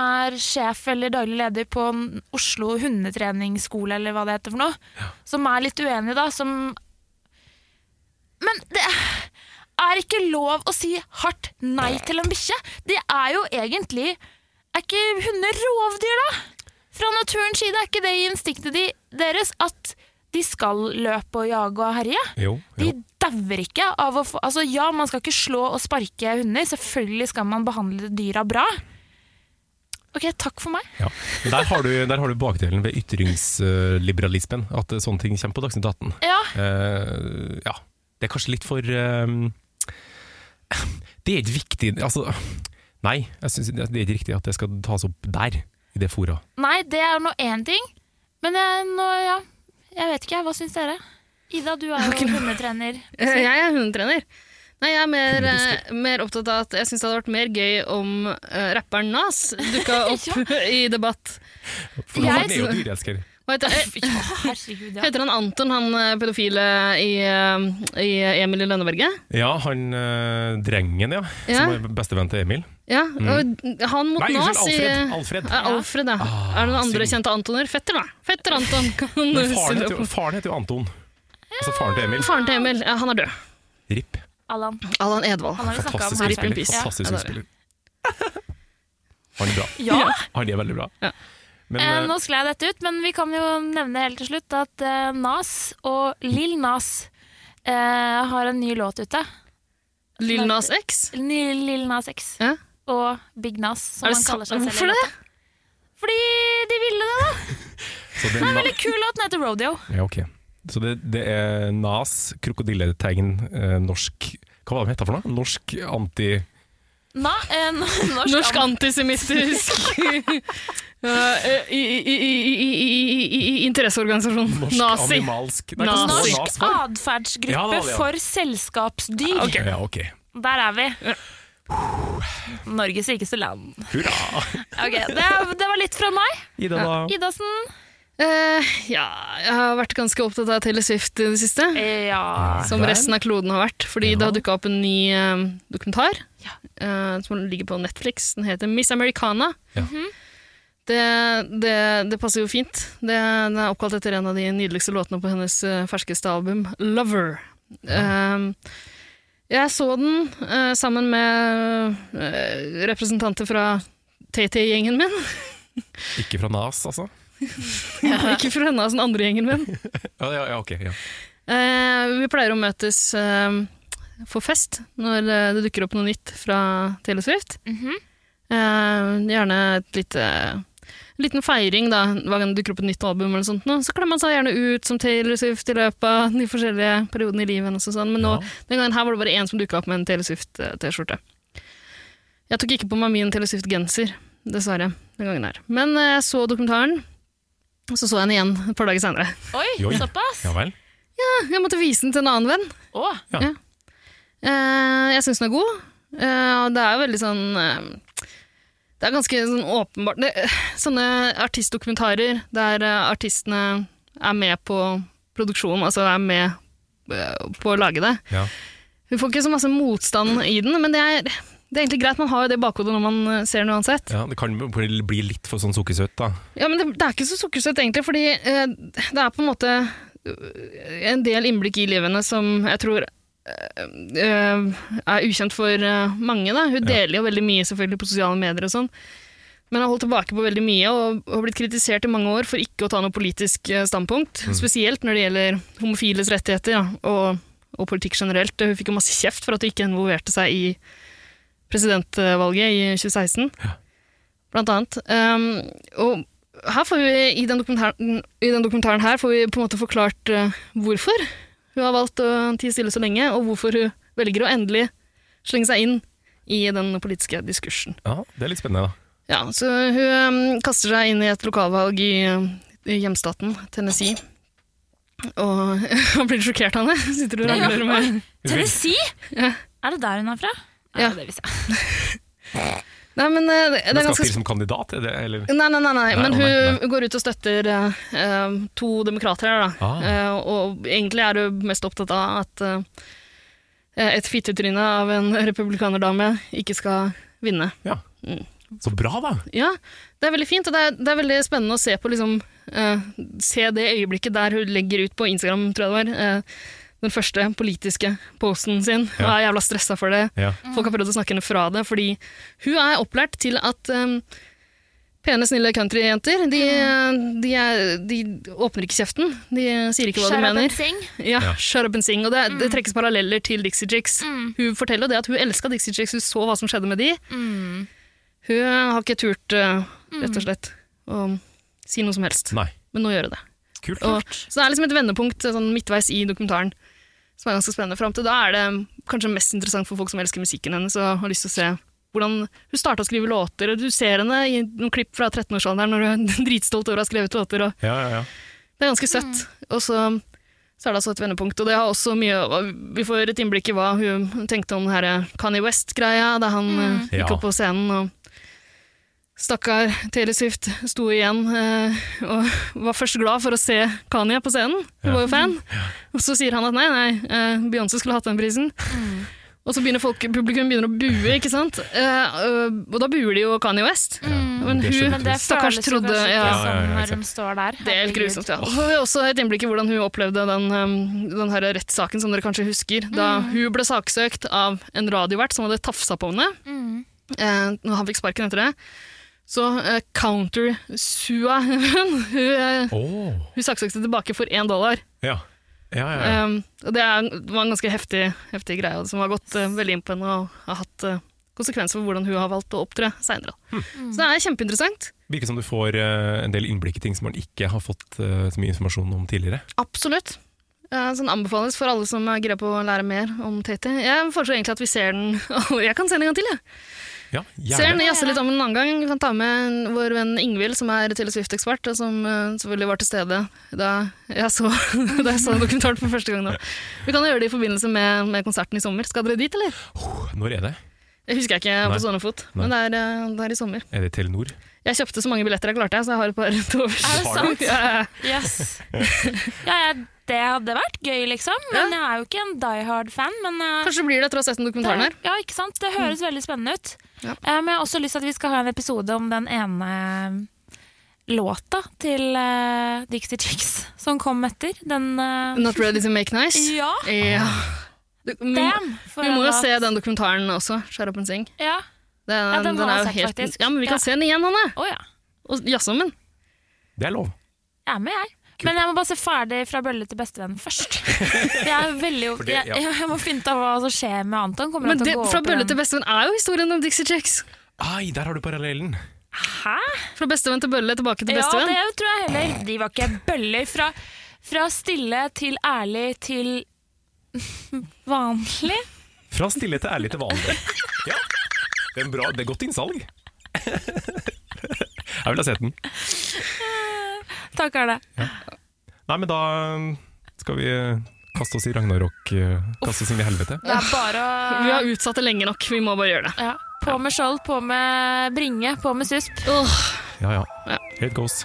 S1: er sjef eller daglig leder på en Oslo hundetreningsskole, eller hva det heter for noe. Som er litt uenig, da. Som Men det er ikke lov å si hardt nei til en bikkje! De er jo egentlig Er ikke hunder rovdyr, da? Fra naturens side er ikke det i instinktet de, deres at de skal løpe og jage og herje.
S2: Jo,
S1: De
S2: jo.
S1: dauer ikke av å få Altså ja, man skal ikke slå og sparke hunder. Selvfølgelig skal man behandle dyra bra. Ok, takk for meg.
S2: Ja. Men Der, har du, der har du bakdelen ved ytringsliberalismen, at eh, sånne ting kommer på Dagsnytt 18.
S1: Ja,
S2: Eh, ja. Det er kanskje litt for eh, Det er ikke viktig Altså, nei. Jeg synes det er ikke riktig at det skal tas opp der, i det fora.
S1: Nei, det er nå én ting. Men jeg, nå, ja Jeg vet ikke, jeg. hva syns dere? Ida, du er jo hundetrener.
S3: Eh, Jeg er hundetrener. Nei, jeg er mer,
S2: Hundehusker.
S3: eh, mer opptatt av at jeg syns det hadde vært mer gøy om eh, rapperen Nas [laughs] dukka opp i debatt.
S2: For
S3: Jeg-
S2: han er jo dyreelsker.
S3: Hva heter, eh,
S1: Ja, herregud, ja.
S3: heter han Anton, han eh, pedofile i, eh, i Emil i Lønneberget?
S2: Ja, han eh, drengen, ja.
S3: Ja.
S2: Som er bestevenn til Emil.
S3: Ja, og han mot
S2: Mm. Nei,
S3: Nas
S2: unnskyld,
S3: i
S2: Alfred. Alfred.
S3: Eh, Alfred, ja.
S2: Ah,
S3: er det noen andre
S2: synd.
S3: kjente Antoner? Fetter, da. Fetter
S2: [laughs]
S3: Anton. Kan
S2: Men faren
S3: du stille
S2: heter, jo,
S3: opp?
S2: faren heter jo Anton. Altså faren til Emil.
S3: Faren til Emil, ja, han er død.
S2: RIP.
S1: Allan.
S3: Allan Edvald.
S1: Han har vi snakka om
S2: Fantastisk
S1: her.
S3: Rip in
S2: skuespiller.
S3: peace.
S2: Fantastisk
S3: Ja,
S2: skuespiller. Han er bra.
S1: Ja,
S2: Han er veldig bra.
S3: Ja.
S2: Men
S1: eh,
S2: eh,
S1: Nå sklei jeg dette ut, men vi kan jo nevne helt til slutt at eh, Nas og Lill Nas eh, har en ny låt ute.
S3: Lill Nas X.
S1: Ny Lil Nas X
S3: Ja.
S1: og Big Nas, som
S3: Er det
S1: han kaller
S3: sant?
S1: seg selv. i
S3: Hvorfor det?
S1: låta. Fordi de ville det, da.
S2: så det, er
S1: Veldig kul låt, den heter Rodeo.
S2: na- ja, ok. Så det, det er Nas, krokodilletegn, eh, norsk Hva var det de hette for noe? Norsk anti...
S1: Na, eh, n- norsk,
S3: [laughs] Norsk
S1: an-
S3: antisemittisk
S2: [laughs]
S3: [laughs] Ja, eh, i, i, i, i, i, i, i interesseorganisasjon.
S2: Norsk
S3: Nazi.
S2: animalsk Nei, hva står
S3: Nazi.
S2: Nas
S1: norsk
S2: for?
S1: atferdsgruppe
S2: Ja, det var det, ja.
S1: for selskapsdyr.
S2: Ja, ok.
S1: Der er vi. Norges rikeste land.
S2: Hurra!
S1: Ok, det, det var litt fra meg.
S2: Ida, da.
S1: Idasen.
S3: Eh, ja, jeg har vært ganske opptatt av Taylor Swift i det siste.
S1: Ja.
S3: Som
S2: Der.
S3: resten av kloden har vært. Fordi
S2: Ja.
S3: det har dukka opp en ny eh, dokumentar eh, som ligger på Netflix. Den heter Miss Americana.
S2: Ja.
S3: Det, det, det passer jo fint. Det, den er oppkalt etter en av de nydeligste låtene på hennes eh, ferskeste album, 'Lover'. Eh, jeg så den eh, sammen med eh, representanter fra TT-gjengen min.
S2: Ikke fra Nas, altså?
S3: [laughs] Ikke fra henne, altså den andre gjengen min.
S2: Ja, ja, ja ok. Ja.
S3: Eh, vi pleier å møtes eh, for fest når eh, det dukker opp noe nytt fra Taylor Swift.
S1: Mhm.
S3: Eh, gjerne et lite en liten feiring da, hver gang det dukker opp et nytt album. eller sånt, nå, Så klemmer man seg gjerne ut som Taylor Swift i løpet av de forskjellige periodene i livet. hennes Og sånn. Men nå,
S2: Ja.
S3: den gangen her var det bare én som dukka opp med en Taylor Swift-T-skjorte. Jeg tok ikke på meg min Taylor Swift-genser, dessverre. den gangen her. Men eh, jeg så dokumentaren, og så så jeg den igjen et par dager seinere.
S1: Oi,
S2: Oi.
S1: såpass?
S2: Ja vel.
S3: [laughs] Jeg måtte vise den til en annen venn.
S1: Å,
S3: Eh, jeg syns den er god. Eh, og det er jo veldig sånn eh, Det er ganske sånn åpenbart det, Sånne artistdokumentarer der eh, artistene er med på produksjonen, altså er med eh, på å lage det.
S2: Ja.
S3: Vi får ikke så masse motstand i den, men det er, det er egentlig greit. Man har jo det i bakhodet når man eh, ser den uansett.
S2: Ja, det kan bli litt for sånn sukkersøtt, da.
S3: Ja, men det, det er ikke så sukkersøtt egentlig, fordi eh, det er på en måte eh, en del innblikk i livet hennes som jeg tror eh, eh, er ukjent for eh, mange. Da. Hun deler jo veldig mye selvfølgelig på sosiale medier og sånn, men har holdt tilbake på veldig mye og har blitt kritisert i mange år for ikke å ta noe politisk eh, standpunkt, spesielt når det gjelder homofiles rettigheter ja, og, og politikk generelt. Hun fikk jo masse kjeft for at hun ikke involverte seg i presidentvalget i 2016 blant annet. Ehm, og her får vi, i den, dokumentaren, i den dokumentaren her får vi på en måte forklart eh, hvorfor hun har valgt å tie stille så lenge, og hvorfor hun velger å endelig slenge seg inn i den politiske diskursen.
S2: Ja, Det er litt spennende, da.
S3: Ja, så hun ehm, kaster seg inn i et lokalvalg i, eh, i hjemstaten, Tennessee. Og [laughs] han blir sjokkert, Hanne. Sitter du og rangler med
S1: [laughs] Tennessee?
S3: Ja.
S1: Er det der hun er fra?
S3: Ja.
S1: det visste jeg.
S3: Nei, men eh, det, det
S2: Men
S3: er
S2: skal
S3: ganske
S2: stille som kandidat, er det, eller?
S3: Nei, nei, nei, nei.
S2: Nei,
S3: men
S2: å,
S3: hun
S2: nei,
S3: går ut og støtter eh, eh, to demokrater her, da.
S2: Ah.
S3: Eh, og egentlig er hun mest opptatt av at eh, et fittetryne av en [laughs] republikanerdame ikke skal vinne.
S2: Så bra, da!
S3: Ja, det er veldig fint, og det er, det er veldig spennende å se på liksom eh, Se det øyeblikket der hun legger ut på Instagram, tror jeg det var, eh, den første politiske posten sin. Hun
S2: Ja.
S3: er jævla stressa for det.
S2: Ja.
S3: Folk har prøvd å snakke henne fra det, fordi hun er opplært til at um, pene, snille countryjenter, de, de, er- de åpner ikke kjeften. De sier ikke hva
S1: Mm. Shut up
S3: de
S1: and
S3: mener.
S1: sing. Mm.
S3: Ja,
S2: Ja.
S3: shut up and sing. Og det, det trekkes paralleller til Dixie Chicks. Hun forteller jo det at hun elska Dixie Chicks, hun så hva som skjedde med de.
S1: Mm.
S3: Hun har ikke turt, uh, rett og slett, å si noe som helst.
S2: Nei.
S3: Men nå gjør hun det.
S2: Kult.
S3: Og, så det er liksom et vendepunkt sånn midtveis i dokumentaren som er ganske spennende. Fram til da er det kanskje mest interessant for folk som elsker musikken hennes og har lyst til å se hvordan hun starta å skrive låter. og Du ser henne i noen klipp fra 13-årsalderen når hun [laughs] er dritstolt over å ha skrevet låter. og
S2: Ja, ja, ja.
S3: Det er ganske søtt. Og så, så er det altså et vendepunkt. Og det har også mye Vi får et innblikk i hva hun tenkte om den her eh, Kanye West-greia, da han eh, gikk
S2: Ja.
S3: opp på scenen og Stakkar Taylor Swift sto igjen eh, og var først glad for å se Kanye på scenen. Hun
S2: Ja.
S3: var jo fan. Og så sier han at nei, nei, eh, Beyoncé skulle hatt den prisen. Og så begynner folk, publikum begynner å bue, ikke sant? Eh, eh, og da buer de jo Kanye West. Mm, Men
S2: det
S3: hun-
S2: skjønner
S1: Men det
S2: jeg.
S3: Stakkars
S1: føles jo
S3: trodde-
S1: kanskje ikke
S2: Ja,
S3: ja.
S2: ja,
S1: sånn
S2: ja,
S1: når hun står der.
S3: Det er helt
S1: Herregud.
S3: grusomt, ja. Og så har vi også et innblikk i hvordan hun opplevde den, um, den her rettssaken som dere kanskje husker, da hun ble saksøkt av en radiovert som hadde tafsa på henne, eh, når han fikk sparken etter det. Så eh, counter-sua hun. [laughs] Hun, eh,
S2: Åh.
S3: hun saksøkte tilbake for én dollar.
S2: Ja. Ja, ja, ja.
S3: Um, og det er, var en ganske heftig, heftig greie, og som har gått eh, veldig inn på henne og har hatt eh, konsekvenser for hvordan hun har valgt å opptre seinere. Så det er kjempeinteressant.
S2: Virker som du får eh, en del innblikk i ting som man ikke har fått eh, så mye informasjon om tidligere.
S3: Absolutt. Eh, Så den anbefales for alle som er gira på å lære mer om Tati. Jeg foreslår egentlig at vi ser den [laughs] Jeg kan se den en gang til, jeg.
S2: Ja,
S3: Ser den
S2: gjerne.
S3: jazze litt om en annen gang. Vi kan ta med en- vår venn Ingvild, som er Taylor Swift-ekspert, og som eh, selvfølgelig var til stede da jeg så, [laughs] da jeg så dokumentaren for første gang nå. Vi kan gjøre det i forbindelse med, med konserten i sommer. Skal dere dit, eller?
S2: Når er det?
S3: Det husker jeg ikke
S2: Nei.
S3: på stående fot, men det er, eh, det er i sommer.
S2: Er det Telenor?
S3: Jeg kjøpte så mange billetter jeg klarte, jeg, så jeg har et par [laughs] til overs.
S1: Er det
S2: Har
S1: sant?
S3: Ja, ja, ja. [laughs]
S1: Yes. Ja, ja, det hadde vært gøy, liksom. Men jeg er jo ikke en die hard-fan. Men eh,
S3: Kanskje blir det etter å ha sett den dokumentaren her.
S1: det, ja, ikke sant? Det høres veldig spennende ut.
S3: Ja.
S1: Eh, men jeg har også lyst til at vi skal ha en episode om den ene eh, låta til eh, Dixie Chicks [laughs] som kom etter. Den eh,
S3: Not ready to make nice.
S1: Ja!
S3: Ja. Du, vi, må-
S1: Damn! for
S3: vi må
S1: en
S3: jo
S1: låt.
S3: se den dokumentaren også, Shut Up and Sing.
S1: Ja.
S3: Den,
S1: den har
S3: er
S1: jeg
S3: jo
S1: sett,
S3: helt,
S1: faktisk.
S3: Ja, men vi kan
S1: Ja.
S3: se den igjen, Hanne!
S1: Å ja.
S3: Og jazze om den.
S2: Det er lov.
S1: Jeg er med, jeg. Men jeg må bare se ferdig Fra bølle til bestevenn først.
S3: [laughs]
S1: Jeg er veldig
S2: For det-
S1: jeg,
S2: ja.
S1: jeg må finne ut av hva som skjer med Anton. Kommer han
S3: Men det,
S1: til å gå
S3: Fra
S1: opp i
S3: bølle
S1: den-
S3: til bestevenn er jo historien om Dixie Chicks.
S2: Ai, der har du parallellen!
S1: Hæ?
S3: Fra bestevenn til bølle, tilbake til
S1: Ja,
S3: bestevenn.
S1: det tror jeg heller. De var ikke bøller. Fra, fra stille til ærlig til [laughs] vanlig.
S2: Fra stille til ærlig til vanlig. Ja. Det er, en bra, det er godt innsalg. [laughs] Jeg vil ha sett den.
S1: Takk, Arne.
S2: Nei, men da eh, skal vi kaste oss i ragnarok. eh, Kaste oss inn i helvete.
S1: Det er bare
S3: Vi
S1: å
S3: har utsatt det lenge nok, vi må bare gjøre det.
S1: ja. På med skjold, på med bringe, på med susp.
S3: Åh,
S2: Ja, ja.
S3: Ja.
S2: Here it goes.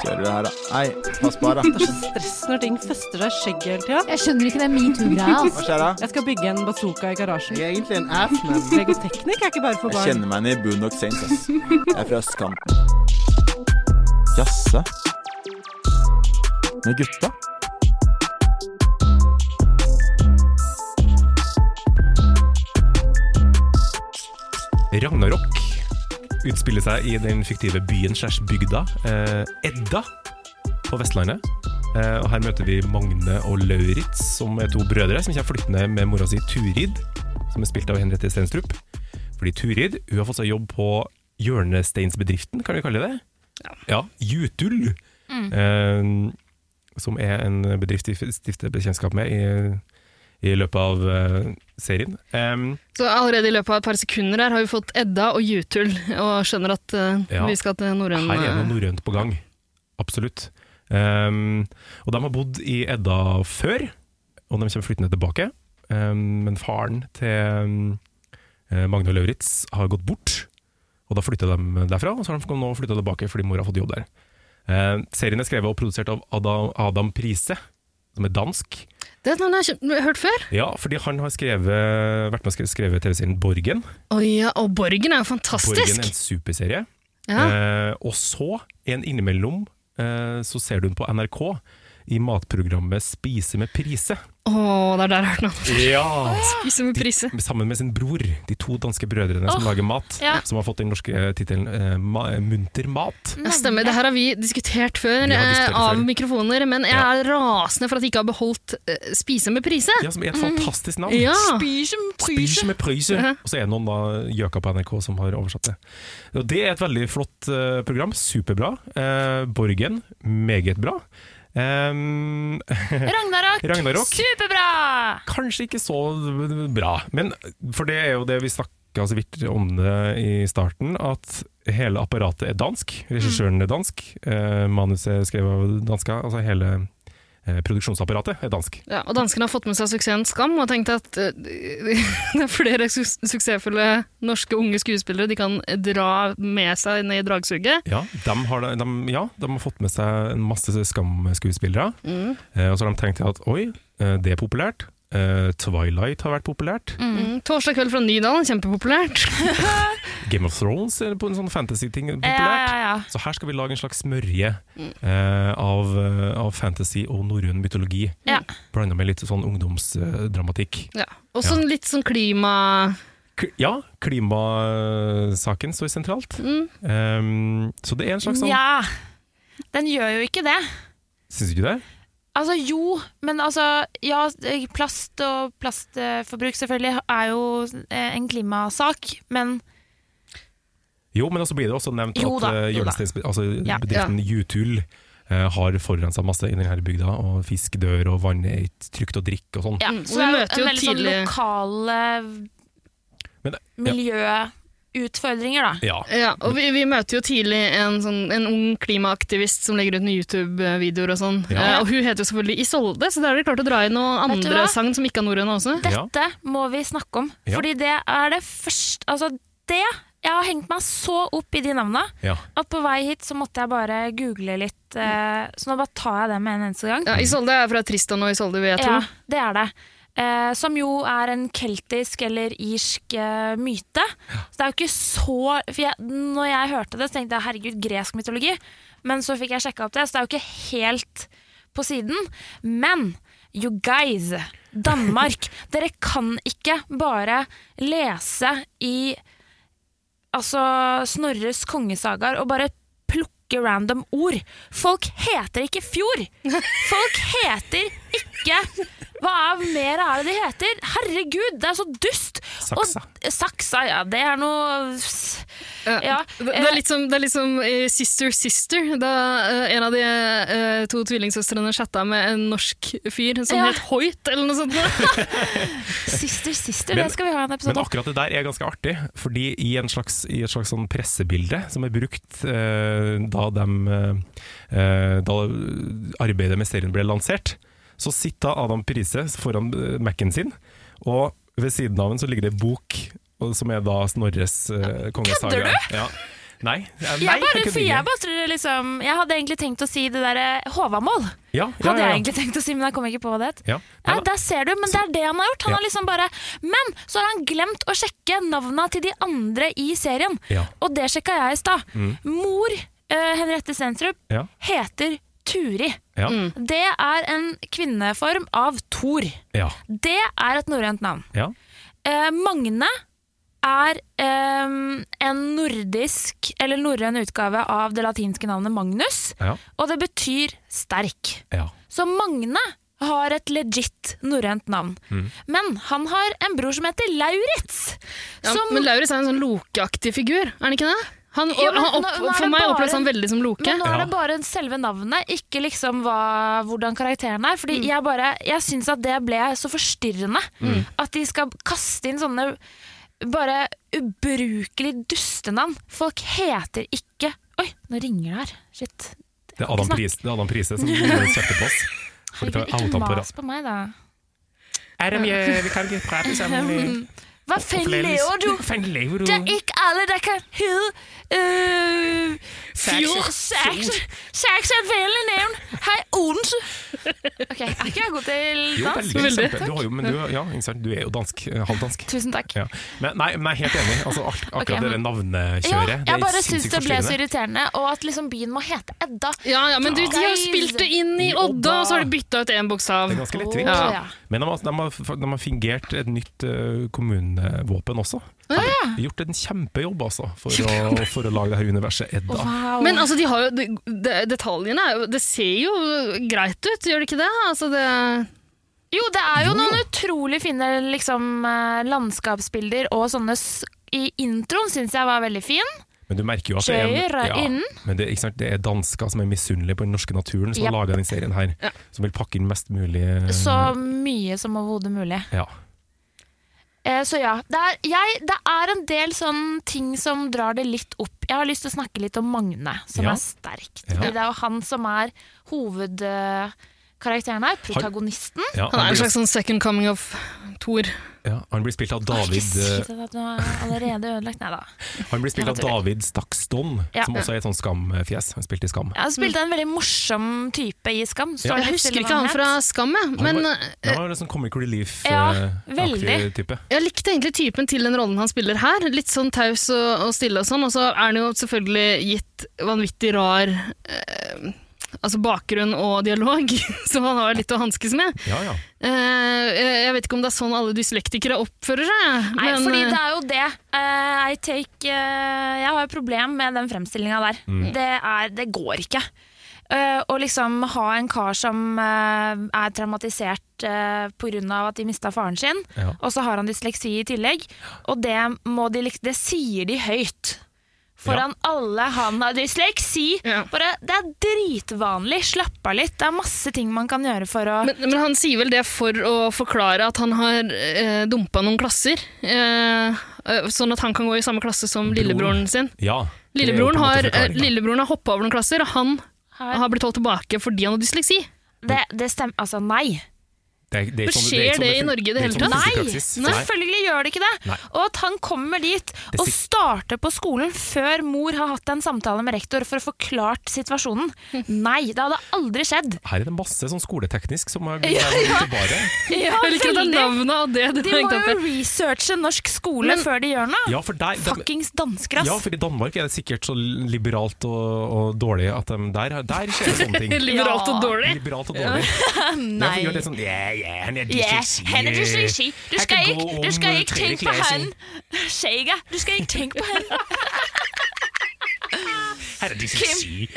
S7: Kjører du her, da? Nei, pass på her, da.
S8: Det er så stress når ting fester seg i skjegget hele tida.
S6: Jeg skjønner ikke den metoo-greia.
S7: Hva
S6: Altså.
S7: skjer da?
S8: Jeg skal bygge en bazooka i garasjen.
S7: Jeg er egentlig en ass,
S8: [laughs]
S7: men
S8: Legoteknikk er ikke bare for
S7: jeg
S8: barn.
S7: kjenner meg igjen i Boondock Saints, ass. Jeg er fra østkanten. Jasse? Med gutta?
S2: Ragnarok utspiller seg i den fiktive byen slash bygda eh, Edda på Vestlandet. Eh, og her møter vi Magne og Lauritz, som er to brødre som kommer flyttende med mora si Turid, som er spilt av Henriette Stenstrup. Fordi Turid hun har fått seg jobb på hjørnesteinsbedriften, kan vi kalle det? Ja. Jutul. Eh, som er en bedrift de stifter bekjentskap med i, i løpet av eh, serien. Eh, Em,
S3: Så allerede i løpet av et par sekunder her har vi fått Edda og Jutul, og skjønner at eh,
S2: Ja.
S3: vi skal til norrøn eh,
S2: Her er det noe norrønt på gang. Absolutt. Ehm, og de har bodd i Edda før, og de kommer flyttende tilbake. Ehm, men faren til ehm, eh, Magne og Lauritz har gått bort, og da flytta de derfra. Og så har de nå flytta tilbake fordi mor har fått jobb der. Ehm, serien er skrevet og produsert av Adam, Adam Prise, som er dansk.
S3: Det er et navn jeg har kjent- hørt før.
S2: Ja, fordi han har skrevet, vært med og skrevet TV-serien Borgen.
S3: Å ja, og Borgen er
S2: Borgen
S3: jo
S2: er
S3: fantastisk!
S2: en superserie.
S3: Ja.
S2: Eh, og så, en innimellom, eh, så ser du den på NRK i matprogrammet Spise med prise.
S3: Å, det er der jeg har hørt navnet.
S2: Ja!
S3: Spise med prise.
S2: Sammen med sin bror, de to danske brødrene som
S1: Åh,
S2: lager mat,
S1: ja.
S2: som har fått den norske eh, tittelen eh, Ma- Munter mat.
S3: Ja, stemmer. Det her har vi diskutert før
S2: Vi har diskutert
S3: eh, av
S2: før.
S3: mikrofoner, men jeg
S2: Ja.
S3: er rasende for at jeg ikke har beholdt eh, Spise med prise.
S2: Ja, som er et fantastisk navn.
S3: Ja.
S1: Spysjem,
S2: Spise med prise.
S3: Ja.
S2: Og så er det noen da gjøka på NRK som har oversatt det. Og det er et veldig flott eh, program. Superbra. Eh, Borgen, meget bra. Ehm, [laughs]
S1: Ragnarok.
S2: Ragnarok.
S1: Superbra!
S2: kanskje ikke så bra. Men for det er jo det vi snakka så vidt om det i starten, at hele apparatet er dansk. Regissøren er dansk, eh, manuset er skrevet av dansker. Altså hele eh, produksjonsapparatet er dansk.
S3: Ja, og danskene har fått med seg suksessen Skam og tenkt at eh, [laughs] det er flere su suksessfulle norske unge skuespillere de kan dra med seg ned i dragsuget.
S2: Ja, de har, de, ja, de har fått med seg en masse skamskuespillere. Eh, og så har de tenkt at oi, eh, det er populært. Eh, Twilight har vært populært.
S3: Mm. Torsdag kveld fra Nydalen, kjempepopulært.
S2: Game of Thrones er på en sånn fantasy-ting
S1: Ja,
S2: populært.
S1: ja, ja.
S2: Så her skal vi lage en slags smørje eh, av, eh, av fantasy og norrøn mytologi.
S1: Ja.
S2: Blanda med litt sånn ungdomsdramatikk.
S3: Ja. Og sånn litt sånn klima...
S2: K ja, klimasaken står sentralt.
S1: Mm.
S2: Eh, så det er en slags sånn
S1: Nja, den gjør jo ikke det.
S2: Syns du ikke det?
S1: Altså jo, men altså Ja, plast og plastforbruk selvfølgelig er jo eh, en klimasak, men
S2: Jo, men også blir det også nevnt
S1: Jo
S2: at
S1: da,
S2: eh,
S1: jo da.
S2: hjørnesteins- altså,
S1: Ja.
S2: bedriften Jutul eh, har forurensa masse i denne bygda, og fisk dør, og vann er ikke trygt å drikke og sånn.
S1: ja,
S3: Mm, og
S1: så
S3: vi
S1: er det
S3: møter jo
S1: en veldig sånn
S3: tidlig-
S1: lokale
S2: Men det-
S1: miljøutfordringer, da.
S2: Ja.
S3: Ja, og vi, vi møter jo tidlig en, sånn, en ung klimaaktivist som legger ut noen YouTube-videoer og sånn.
S2: Ja.
S3: Eh, og hun heter jo selvfølgelig Isolde, så da er det klart å dra inn noen
S1: Vet du
S3: andre
S1: hva?
S3: sang som ikke er norrøne også.
S2: Ja.
S1: Dette må vi snakke om,
S2: Ja.
S1: fordi det er det første Altså, det Jeg har hengt meg så opp i de navna
S2: ja.
S1: at på vei hit så måtte jeg bare google litt, eh, så nå bare tar jeg det med en eneste gang.
S3: Ja, Isolde er fra Tristan og Isolde, vil jeg tro.
S1: Ja, det er det. Eh, som jo er en keltisk eller irsk eh, myte. Så det er jo ikke så For jeg, når jeg hørte det, så tenkte jeg herregud, gresk mytologi. Men så fikk jeg sjekka opp det, så det er jo ikke helt på siden. Men you guys, Danmark, [laughs] dere kan ikke bare lese i altså Snorres kongesagaer og bare plukke random ord. Folk heter ikke fjord! Folk heter ikke Hva er mer er det de heter? Herregud, det er så dust! Og-
S2: Saksa.
S1: saksa, ja. Det er noe Ja, Eh,
S3: Det, det er litt som, det er litt som i Sister Sister, da eh, en av de eh, to tvillingsøstrene chatta med en norsk fyr som
S1: Ja.
S3: het Hoit, eller noe
S1: [laughs]
S3: sånt.
S1: Sister, sister,
S2: Men-
S1: det skal vi ha en episode
S2: Men
S1: om.
S2: akkurat det der er ganske artig, fordi i, en slags, i et slags sånn pressebilde som er brukt eh, da, dem, eh, da arbeidet med serien ble lansert, så sitter Adam Prise foran eh, Mac-en sin og Ved siden av den så ligger det bok, og- som er da Snorres eh, kongesaga.
S1: Kødder
S2: du?! Ja. Nei, eh, nei,
S1: Jeg bare,
S2: kødder
S1: for
S2: ikke.
S1: jeg bare tror det liksom Jeg hadde egentlig tenkt å si det derre Håvamål.
S2: ja, ja,
S1: Hadde
S2: ja, ja.
S1: jeg egentlig tenkt å si, men jeg kom ikke på det.
S2: Ja.
S1: Nei,
S2: Nei da.
S1: der ser du, men det er det han har gjort. Han
S2: Ja.
S1: har liksom bare Men så har han glemt å sjekke navna til de andre i serien.
S2: Ja. Mm.
S1: Og det sjekka jeg i stad. Mor eh, Henriette Stensrup
S2: Ja.
S1: heter Turi.
S2: Ja.
S1: Det er en kvinneform av Thor.
S2: Ja.
S1: Det er et norrønt navn.
S2: Ja.
S1: Eh, Magne er eh, en nordisk, eller norrøn utgave av det latinske navnet Magnus.
S2: Ja.
S1: Og det betyr sterk.
S2: Ja.
S1: Så Magne har et legit norrønt navn.
S2: Mm.
S1: Men han har en bror som heter Lauritz.
S3: Ja,
S1: som,
S3: Men
S1: men,
S3: Lauritz er en sånn lokeaktig figur, er han ikke det? Han,
S1: Ja, men
S3: han
S1: nå- nå er
S3: opp, for
S1: det
S3: meg
S1: bare-
S3: oppleves han veldig som loke.
S1: nå er
S2: Ja.
S1: det bare selve navnet, ikke liksom hva, hvordan karakteren er.
S3: Mm.
S1: Fordi jeg, bare, jeg syns at det ble så forstyrrende.
S2: Mm.
S1: At de skal kaste inn sånne bare ubrukelig dustenavn. Folk heter ikke Oi, nå ringer det her. Shit.
S2: Det er Adam
S1: Snakk.
S2: Prise, det er Adam Prise
S1: [laughs]
S2: som kjefter på oss.
S1: Herregud,
S2: Fordi vi har outa
S1: ikke
S2: han på
S1: mas på meg, da.
S9: Adam, jeg, vi kan ikke prate
S1: [laughs]
S9: sammen.
S1: Hva faen lever du?
S9: Hva fanden lever du?
S1: Det
S2: Mm.
S1: er ikke alle der kan hedde øh, Fjord Saxon Saxon er et vennlig navn Hei, Odense Ok, er ikke jeg god til
S2: Jo,
S1: dans?
S2: veldig.
S3: Veldig.
S2: kjempe- Du, har jo, men du, ja, ikke sant? du er jo dansk, eh, halvdansk.
S1: Tusen takk
S2: Ja. Men nei, men jeg er helt enig. Altså, ak akkurat
S1: Ok,
S2: det
S1: men- ja,
S2: navnekjøret det er
S1: jeg bare synes
S2: sinnssykt
S1: det ble så
S2: forstyrrende.
S1: irriterende Og at liksom byen må hete Edda
S3: Ja, ja, men du, De har jo
S1: Guys.
S3: spilt det inn i
S2: I Odda.
S3: Odda, og så har de bytta ut én bokstav.
S2: Det er ganske lettvint.
S3: Å,
S1: ja.
S2: Men de har, de, har, de har fingert et nytt eh, kommunevåpen også. Gjort en kjempejobb altså, for, å, for å lage det her universet Edda.
S1: Wow
S3: Men altså, de har jo, de, de, detaljene er jo Det ser jo greit ut, gjør det ikke det? Altså, det
S1: Jo, det er jo noen utrolig fine liksom, eh, landskapsbilder Og sånne s- i introen synes jeg var veldig fin
S2: Men du merker jo at det er,
S1: Skjøyre
S2: en-
S1: inn.
S2: men det, ikke sant? det er dansker som er misunnelige på den norske naturen, som
S1: Japp.
S2: har laga denne serien her. Som vil pakke inn mest mulig eh,
S1: Så mye som overhodet mulig
S2: ja.
S1: Eh, Så ja, det er, jeg, det er en del sånn ting som drar det litt opp. Jeg har lyst til å snakke litt om Magne, som
S2: Ja.
S1: er sterkt.
S2: Ja.
S1: Fordi Det er jo han som er hovedkarakteren her, protagonisten.
S2: Ja,
S3: han er en
S2: blir-
S3: slags sånn second coming of Thor.
S2: ja, han blir spilt av
S1: Jeg
S2: David
S1: skal
S2: eh,
S1: ikke si at nå er jeg allerede ødelagt, nei da.
S2: Han blir spilt av
S1: Jeg tror
S2: David Stakston,
S1: Ja.
S2: som også er et sånn skamfjes. Han spilte i Skam.
S1: Jeg spilte en veldig morsom type i Skam. Står
S3: Jeg
S1: litt
S3: husker
S1: stille
S3: ikke
S1: hva
S3: han fra Skam, jeg.
S2: var-
S3: Men
S2: Han
S3: eh,
S2: var en sånn comic
S1: Ja,
S2: relief-aktig
S1: veldig.
S2: type.
S3: jeg likte egentlig typen til den rollen han spiller her. Litt sånn taus og, og stille og sånn. Og så er han jo selvfølgelig gitt vanvittig rar eh, Altså bakgrunn og dialog, [laughs] som han har litt å hanskes med.
S2: Ja, ja.
S3: Eh, jeg jeg vet ikke om det er sånn alle dyslektikere oppfører seg.
S1: Nei,
S3: men,
S1: fordi
S3: eh,
S1: det er jo det. Eh, I take, eh, jeg har et problem med den fremstillinga der. Det, er, det går ikke. Eh, å liksom ha en kar som eh, er traumatisert uh, pga. at de mista faren sin,
S2: Ja.
S1: og så har han dysleksi i tillegg, og det, må de, lik- det sier de høyt. Foran alle han har dysleksi!
S3: Ja.
S1: Bare, det er dritvanlig! Slapp av litt. Det er masse ting man kan gjøre for å
S3: Men, eh, men han sier vel det for å forklare at han har eh, dumpa noen klasser. Eh, eh, sånn at han kan gå i samme klasse som lillebroren sin.
S2: ja. det er jo på en måte
S3: Lillebroren har, eh,
S2: forklaringen, da.
S3: lillebroren har hoppa over noen klasser, og han
S1: Har-
S3: har blitt holdt tilbake fordi han har dysleksi.
S1: Det, det stemmer Altså, nei.
S2: Det er- det er ikke sånn- er
S3: Skjer
S2: ikke sånn
S3: det i
S2: fun-
S3: Norge i det
S2: er
S3: hele
S2: ikke sånn
S3: tatt?
S2: funker
S1: Nei,
S2: i praksis.
S1: selvfølgelig gjør det ikke det.
S2: Nei.
S1: Og at han kommer dit og
S2: sit-
S1: starter på skolen før mor har hatt en samtale med rektor for å forklart situasjonen.
S3: [laughs]
S1: Nei, det hadde aldri skjedd.
S2: Her er det masse sånn skoleteknisk som
S1: [laughs]
S2: har gått til bare.
S1: Ja,
S3: Jeg liker at det er navnet og det det
S1: De
S3: er
S1: må
S3: hengt opp
S1: jo
S3: i.
S1: researche norsk skole
S3: Men-
S1: før de gjør noe.
S2: Ja, for der, de,
S1: Fuckings dansker,
S2: ja,
S1: ass.
S2: for i Danmark er det sikkert så liberalt og, og dårlig at de, der, der skjer det sånne
S1: [laughs]
S2: ting.
S3: Liberalt og dårlig.
S2: Liberalt og dårlig. Nei. Ja, litt sånn, yeah, yeah, han er
S1: Ja,
S2: dysleksi.
S1: han er dysleksi. Du
S2: Han
S1: skal
S2: kan
S1: ikke,
S2: gå
S1: du skal
S2: om,
S1: ikke
S2: tredje
S1: tenke på
S2: klasse.
S1: han. Sjega, du skal ikke tenke på
S2: [laughs]
S1: han.
S2: Han er dysleksi.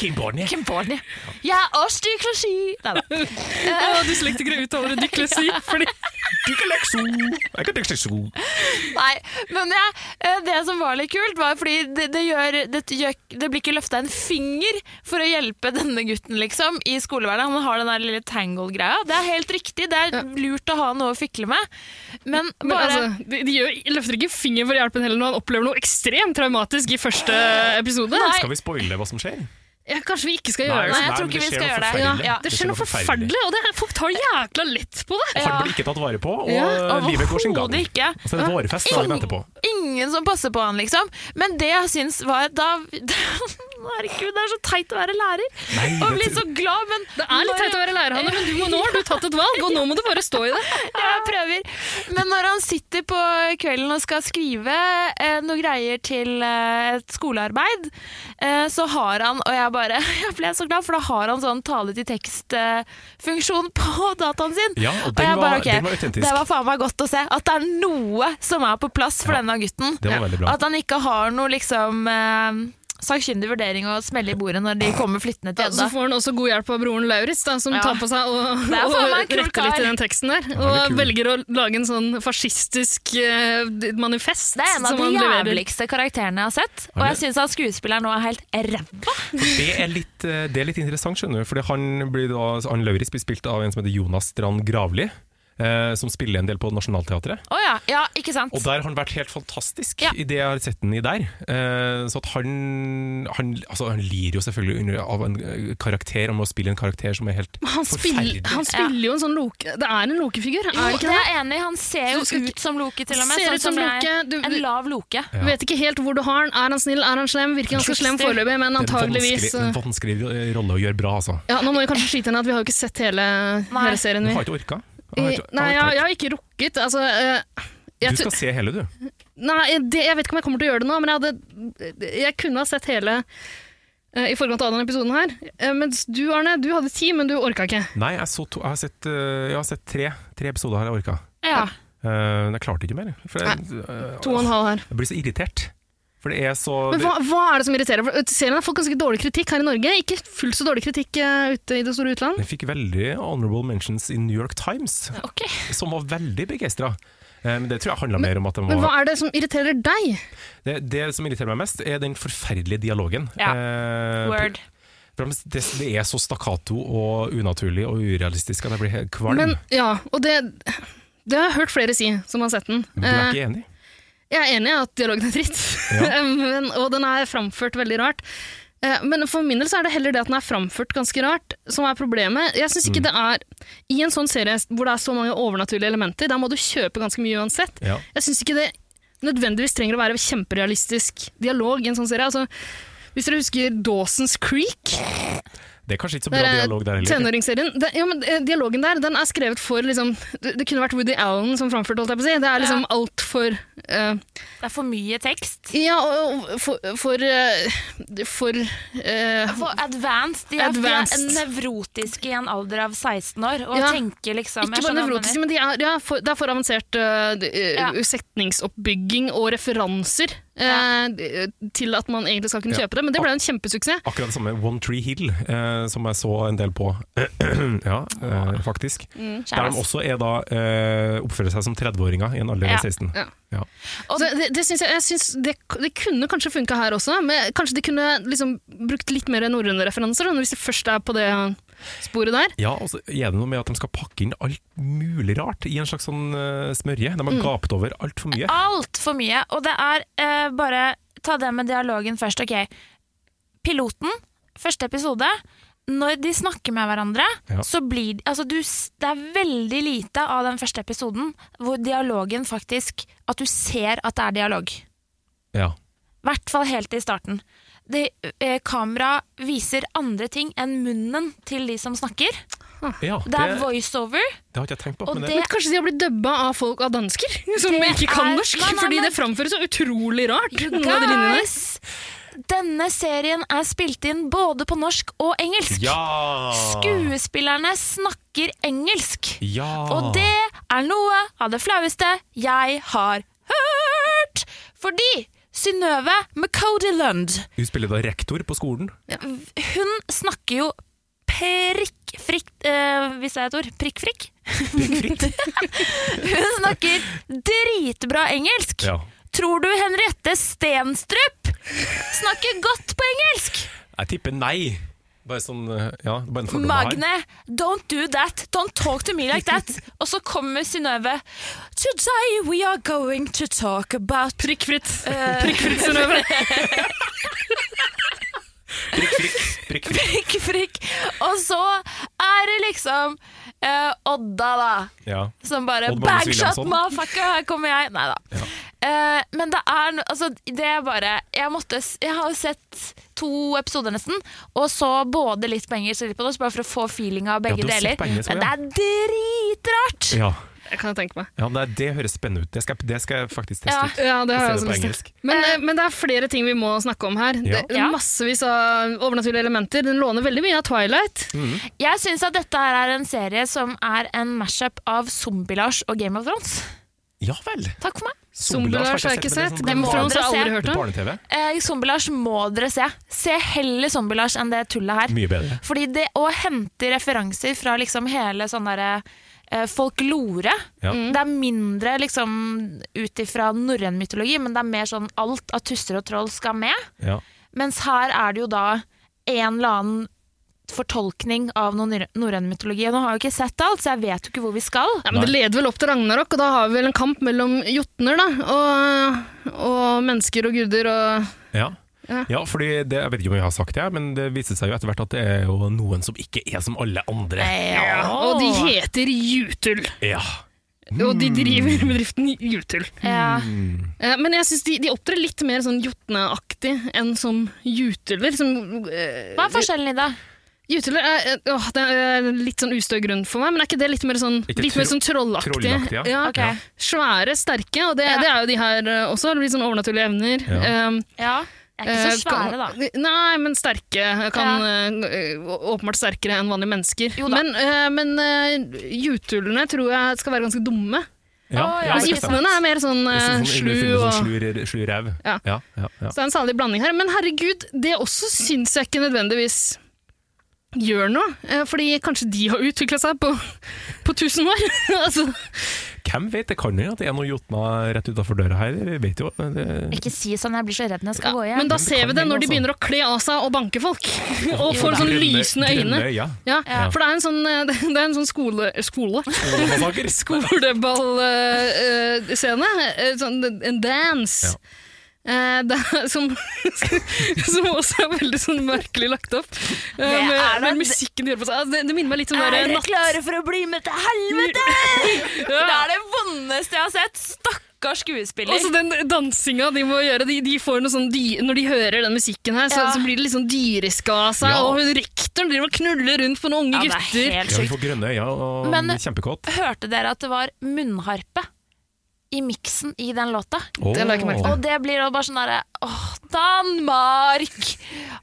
S2: Kim Bonnier.
S1: Hvem var det? Jeg er også dysleksi. Neida.
S3: Ja, Dyslektikere uttaler det dyklesi. Fordi
S2: Dysleksi. Jeg kan dysleksi.
S1: Nei, men jeg, eh, det som var litt kult, var fordi det, det, gjør, det, gjør, det blir ikke løfta en finger for å hjelpe denne gutten, liksom, i skolehverdagen. Han har den der lille tangle-greia. Det er helt riktig, det er lurt å ha noe å fikle med. Men bare
S3: Men altså, de, de gjør, løfter ikke finger for å hjelpe ham heller når han opplever noe ekstremt traumatisk i første episode.
S1: Nei.
S2: Skal vi spoile hva som skjer?
S3: Ja, kanskje vi ikke skal
S2: Nei,
S3: gjøre
S1: Nei,
S3: det.
S1: jeg tror
S2: men
S1: ikke
S2: det
S1: vi
S2: skjer
S1: skal
S2: noe
S1: gjøre det. Ja,
S2: forferdelig.
S1: ja.
S3: Det skjer noe forferdelig, og det er, folk tar jækla lett på det.
S2: Han blir ikke tatt vare på, og
S3: Ja,
S2: eh, livet går sin gang.
S1: Overhodet ikke.
S2: Og så er det vårfest dagen etterpå.
S1: Ingen som passer på han, liksom. Men det jeg syns var da [laughs] Herregud, det er så teit å være lærer
S2: Nei,
S1: og
S2: det-
S1: bli så glad, men
S3: Det er litt teit å være lærer, Hanne, men du må, nå har du tatt et valg, og nå må du bare stå i det.
S1: jeg prøver. Men når han sitter på kvelden og skal skrive eh, noe greier til eh, et skolearbeid, eh, så har han, og jeg bare [laughs] jeg ble så glad, for da har han sånn tale-til-tekst-funksjon på [laughs] dataen sin.
S2: Ja, og den
S1: jeg
S2: var- den var autentisk.
S1: Det var faen meg godt å se at det er noe som er på plass for denne gutten.
S2: det var veldig bra.
S1: At han ikke har noe liksom eh, sakkyndig vurdering å smelle i bordet når de kommer flyttende til
S3: Så
S1: Edda.
S3: får han også god hjelp av broren Lauritz, da, som
S1: Ja.
S3: tar på seg og,
S1: Det er faen
S3: og
S1: meg en kul
S3: retter litt
S1: kar.
S3: i den teksten der.
S2: er
S3: Og
S2: kul.
S3: velger å lage en sånn fascistisk eh, manifest.
S1: Det er en av
S3: som
S1: de
S3: han leverer.
S1: jævligste karakterene jeg har sett, og
S2: men-
S1: jeg syns at skuespilleren nå er helt ræva.
S2: Det er litt, eh, det er litt interessant, skjønner du. Fordi han, blir da, altså, han Lauritz blir spilt av en som heter Jonas Strand Gravli, eh, som spiller en del på Nationaltheatret.
S1: Å ja, ja, ikke sant?
S2: Og der har han vært helt fantastisk
S1: Ja.
S2: i det jeg har sett den i der. Eh, så at han, han, altså, han lir jo selvfølgelig under, av en eh, karakter, om å spille en karakter som er
S3: [laughs]
S2: helt
S3: Han, spill,
S2: forferdelig.
S3: han spiller jo en sånn loke... Det er en lokefigur,
S1: jo,
S3: er det
S1: det er
S3: ikke det?
S1: jeg enig i. Han ser jo
S3: Du skal ikke-
S1: ut som Loke, til og med.
S3: Ser
S1: Sånn
S3: ut som
S1: jeg-
S3: Loke, du-
S1: En lav Loke.
S2: Ja.
S3: Vet ikke helt hvor du har han. Er han snill, er han slem? Virker ganske slem
S1: Trickster.
S3: foreløpig, men
S2: Det er en
S3: antageligvis
S2: vanskelig, en vanskelig eh, rolle å gjøre bra, altså.
S3: ja, Nå må vi kanskje skyte inn at vi har jo ikke sett hele,
S1: Nei.
S3: hele serien.
S2: Du
S3: Vi.
S2: har ikke orka. Jeg har
S3: Nei,
S2: ikke- jeg har
S3: jeg,
S2: ikke
S3: jeg har ikke rukket. Altså, eh,
S2: orka.
S3: jeg
S2: Du
S3: tu-
S2: skal se hele, du.
S3: Nei, det, jeg vet ikke om jeg kommer til å gjøre det nå, men jeg, hadde, jeg kunne ha sett hele eh, i forkant av denne episoden her. Eh, mens du, Arne, du hadde ti, men du orka ikke.
S2: Nei, jeg, så to, jeg har sett, eh, jeg har sett tre, tre episoder her jeg orka.
S1: Ja.
S2: Eh, Men jeg klarte ikke mer. For jeg, eh,
S3: To og en halv her.
S2: Jeg blir så irritert. For det er så
S3: Men hva, hva er det som irriterer? For, eh, serien har fått ganske dårlig kritikk her i Norge. Ikke fullt så dårlig kritikk eh, ute i det store utland.
S2: Den fikk veldig honorable mentions i New York Times,
S1: Ok.
S2: som var veldig begeistra. Men det tror jeg handla mer om at den
S3: Men hva
S2: var
S3: er det som irriterer deg?
S2: det, det som irriterer meg mest, er den forferdelige dialogen.
S1: Ja.
S2: Eh,
S1: Word.
S2: for- for Det, det er så stakkato og unaturlig og urealistisk at jeg blir helt kvalm.
S3: Men, ja, og det, det har jeg hørt flere si som har sett den.
S2: Men du er
S3: Eh,
S2: ikke enig?
S3: Jeg er enig i at dialogen er dritt, [laughs]
S2: Ja.
S3: men, og den er framført veldig rart. Eh, Men for min del så er det heller det at den er framført ganske rart, som er problemet. Jeg synes ikke det er, I en sånn serie hvor det er så mange overnaturlige elementer, der må du kjøpe ganske mye uansett.
S2: Ja.
S3: Jeg syns ikke det nødvendigvis trenger å være kjemperealistisk dialog i en sånn serie. Altså, hvis dere husker Dawson's Creek,
S2: Det er kanskje ikke så
S3: det
S2: bra
S3: er
S2: dialog der heller.
S3: tenåringsserien den, ja, men eh, Dialogen der den er skrevet for liksom, Det, det kunne vært Woody Allen som framførte, holdt jeg på å si. Det er liksom altfor uh,
S1: Det er for mye tekst.
S3: ja, og og for For, eh, for eh,
S1: For advanced. De er, de
S3: Advanced.
S1: er nevrotiske i en alder av 16 år og
S3: Ja.
S1: tenker liksom
S3: ikke bare nevrotiske, men de er, ja, for, det er for avansert eh, d- eh,
S1: Ja.
S3: setningsoppbygging og referanser eh,
S1: Ja.
S3: d- til at man egentlig skal kunne
S2: Ja.
S3: kjøpe det. Men det ble jo en kjempesuksess.
S2: Akkurat det samme One Tree Hill, eh, som jeg så en del på. [clears throat] ja, eh, faktisk.
S1: Mm,
S2: Der de også er da, eh, oppfører seg som 30-åringer i en alder
S1: Ja.
S2: av 16.
S3: Ja.
S2: Ja.
S1: Og-
S3: Så det, det, synes jeg, jeg synes det, det kunne kanskje funka her også, men kanskje de kunne liksom brukt litt mer norrøne referanser, da, hvis de først er på det sporet der.
S2: Ja, og så er det noe med at de skal pakke inn alt mulig rart i en slags sånn eh, smørje. De
S1: Mm.
S2: har gapt over altfor mye.
S1: Ah. Altfor mye. Og det er eh, bare Ta det med dialogen først. Ok. Piloten, første episode. Når de snakker med hverandre,
S2: Ja.
S1: så blir de altså du, s- Det er veldig lite av den første episoden hvor dialogen faktisk At du ser at det er dialog.
S2: Ja.
S1: I hvert fall helt i starten. Det, eh, kamera viser andre ting enn munnen til de som snakker.
S2: ja
S1: Det er
S2: det,
S1: voiceover,
S2: det har ikke jeg tenkt på.
S1: og
S2: Men det,
S1: det
S3: Men kanskje de har blitt dubba av folk av dansker [laughs] som
S1: Det
S3: ikke kan
S1: er-
S3: norsk,
S1: Nei, nei,
S3: fordi
S1: nei.
S3: det framføres så utrolig rart. noen av de linjene der.
S1: Guys! Denne serien er spilt inn både på norsk og engelsk.
S2: ja!
S1: Skuespillerne snakker engelsk.
S2: Ja!
S1: Og det er noe av det flaueste jeg har hørt! Fordi Synnøve McCody Lund,
S2: Hun spiller da rektor på skolen.
S1: hun snakker jo prikkfritt eh, Hvis det er et ord. Prikkfrikk? [laughs]
S2: Prikkfritt.
S1: Hun snakker dritbra engelsk!
S2: Ja.
S1: Tror du Henriette Stenstrup snakker godt på engelsk?
S2: Jeg tipper nei. Bare sånn eh, Ja, bare en fordom jeg har.
S1: Magne, don't do that. Don't talk to me like
S2: [laughs]
S1: that. Og så kommer Synnøve. Today we are going to talk about
S3: Prikkfritt.
S1: eh,
S3: Prikkfritt, Synnøve.
S2: Prikk, prikk, prikk,
S1: Frikk. Og så er det liksom eh, Odda, da.
S2: Ja.
S1: Som bare
S2: Odd Magnus
S1: Bagshot,
S2: Williamson.
S1: motherfucker, her kommer jeg! Nei da. Eh, men det er no- altså, Det er bare Jeg måtte s- Jeg har jo sett to episoder nesten, og så både litt på engelsk og litt på norsk, bare for å få feeling av begge
S2: du har
S1: deler.
S2: sett på engelsk
S1: men det
S2: også,
S1: er dritrart!
S2: Ja,
S3: Det kan [laughs] jeg tenke meg.
S2: ja det, det høres spennende ut. Det skal, jeg- det skal jeg faktisk teste
S1: Ja.
S2: ut.
S3: Ja, det har jeg
S2: Se
S3: også
S2: det på
S3: lyst til.
S2: engelsk.
S3: Men, eh, men det er flere ting vi må snakke om her.
S2: Ja.
S3: Det
S1: Ja.
S3: er massevis av overnaturlige elementer. Den låner veldig mye av Twilight.
S2: Mm.
S1: Jeg syns at dette her er en serie som er en mashup av Zombie-Lars og Game of Thrones.
S2: Ja vel!
S1: Takk for meg.
S3: Zombie-Lars har jeg ikke sett.
S1: Det
S2: sånn
S3: Game
S1: må
S3: of Thrones har jeg aldri
S1: dere
S3: hørt om.
S2: Barne-TV?
S1: Eh, Zombie-Lars må dere se. Se heller Zombie-Lars enn det tullet her.
S2: Mye bedre.
S1: Fordi det å hente referanser fra liksom hele sånn derre eh, folklore
S2: Ja.
S1: Det er mindre liksom ut ifra norrøn mytologi, men det er mer sånn alt av tusser og troll skal med.
S2: Ja.
S1: Mens her er det jo da en eller annen fortolkning av noe norr- norrøn mytologi. Og nå har jeg jo ikke sett alt, så jeg vet jo ikke hvor vi skal.
S3: Ja, men det leder vel opp til Ragnarok, og da har vi vel en kamp mellom jotner da, og, og mennesker og guder. Og,
S2: Ja. Ja, fordi det, Jeg vet ikke om jeg har sagt det, men det viste seg jo etter hvert at det er jo noen som ikke er som alle andre.
S3: og de heter Jutul,
S2: Ja, Mm.
S3: og de driver bedriften Jutul.
S1: Ja.
S3: Eh, Men jeg syns de, de opptrer litt mer sånn jotneaktig enn som jutuler. Som, eh,
S1: Hva er forskjellen i det?
S3: Jutuler er, eh, åh, det er litt sånn ustø grunn for meg, men er ikke det litt mer sånn,
S2: Ikke
S3: litt
S2: tro-
S3: mer sånn trollaktig?
S2: trollaktig, ja.
S1: Ok.
S3: Svære, sterke, og det,
S1: Ja.
S3: det er jo de her eh, også. Litt sånn overnaturlige evner.
S2: Ja.
S3: Um,
S1: Ja, jeg er ikke så
S3: eh,
S1: svære, da.
S3: kan- Nei, men sterke. Kan, eh, åpenbart sterkere enn vanlige mennesker.
S1: Jo da.
S3: Men, eh, men eh, jutulene tror jeg skal være ganske dumme.
S2: ja,
S1: Å, ja,
S2: ja,
S3: Mens
S1: ikke
S2: stemmer.
S1: sant.
S3: jotnene er mer sånn
S2: Det er
S3: eh,
S2: sånn- det
S3: slu
S2: finnes
S3: og
S2: sånn slu, slu ræv.
S3: Ja.
S2: Ja, ja, ja.
S3: Så det er en salig blanding her. Men herregud, det også syns jeg ikke nødvendigvis gjør noe. Eh, Fordi kanskje de har utvikla seg på, på tusen år. [laughs] altså,
S2: Hvem vet, det kan jo at det er noen jotner rett utafor døra her. Vi vet jo det,
S1: Ikke si sånn, jeg blir så redd når jeg skal
S3: ja.
S1: gå hjem.
S3: Men da
S2: det
S3: ser
S2: kan
S3: vi det
S2: hende,
S3: når de
S2: altså.
S3: begynner å kle av seg og banke
S2: [laughs]
S3: folk. og får sånn lysende øyne. Ja,
S1: Ja.
S3: For det er en sånn, eh, [laughs] det er en sånn skole... skole.
S2: Sko
S3: Skoleballscene. Sånn en dance.
S2: Ja.
S3: Eh, det er, som, [laughs] som også er veldig sånn merkelig lagt opp. Eh,
S1: er
S3: med,
S1: da-
S3: med musikken de gjør på seg. Altså, det, det minner meg litt om
S1: Er
S3: der,
S1: dere
S3: natt...
S1: klare for å bli med til helvete?!
S3: [laughs] Ja.
S1: Det er det vondeste jeg har sett. Stakkars skuespiller.
S3: Altså, den dansinga de må gjøre de, de får noe sånn dy- Når de hører den musikken her, så,
S1: Ja.
S3: så blir det litt sånn dyrisk av seg.
S2: Ja.
S3: Og hun rektoren driver og knuller rundt på noen
S1: ja,
S3: unge
S1: det
S3: gutter.
S1: er helt
S2: Ja, vi
S1: sjukt.
S2: får grønne øyne og
S1: Men-
S2: kjempekåt.
S1: Hørte dere at det var munnharpe i miksen i den låta?
S3: Det la jeg ikke merke
S1: Og det blir jo bare sånn derre Åh, Danmark!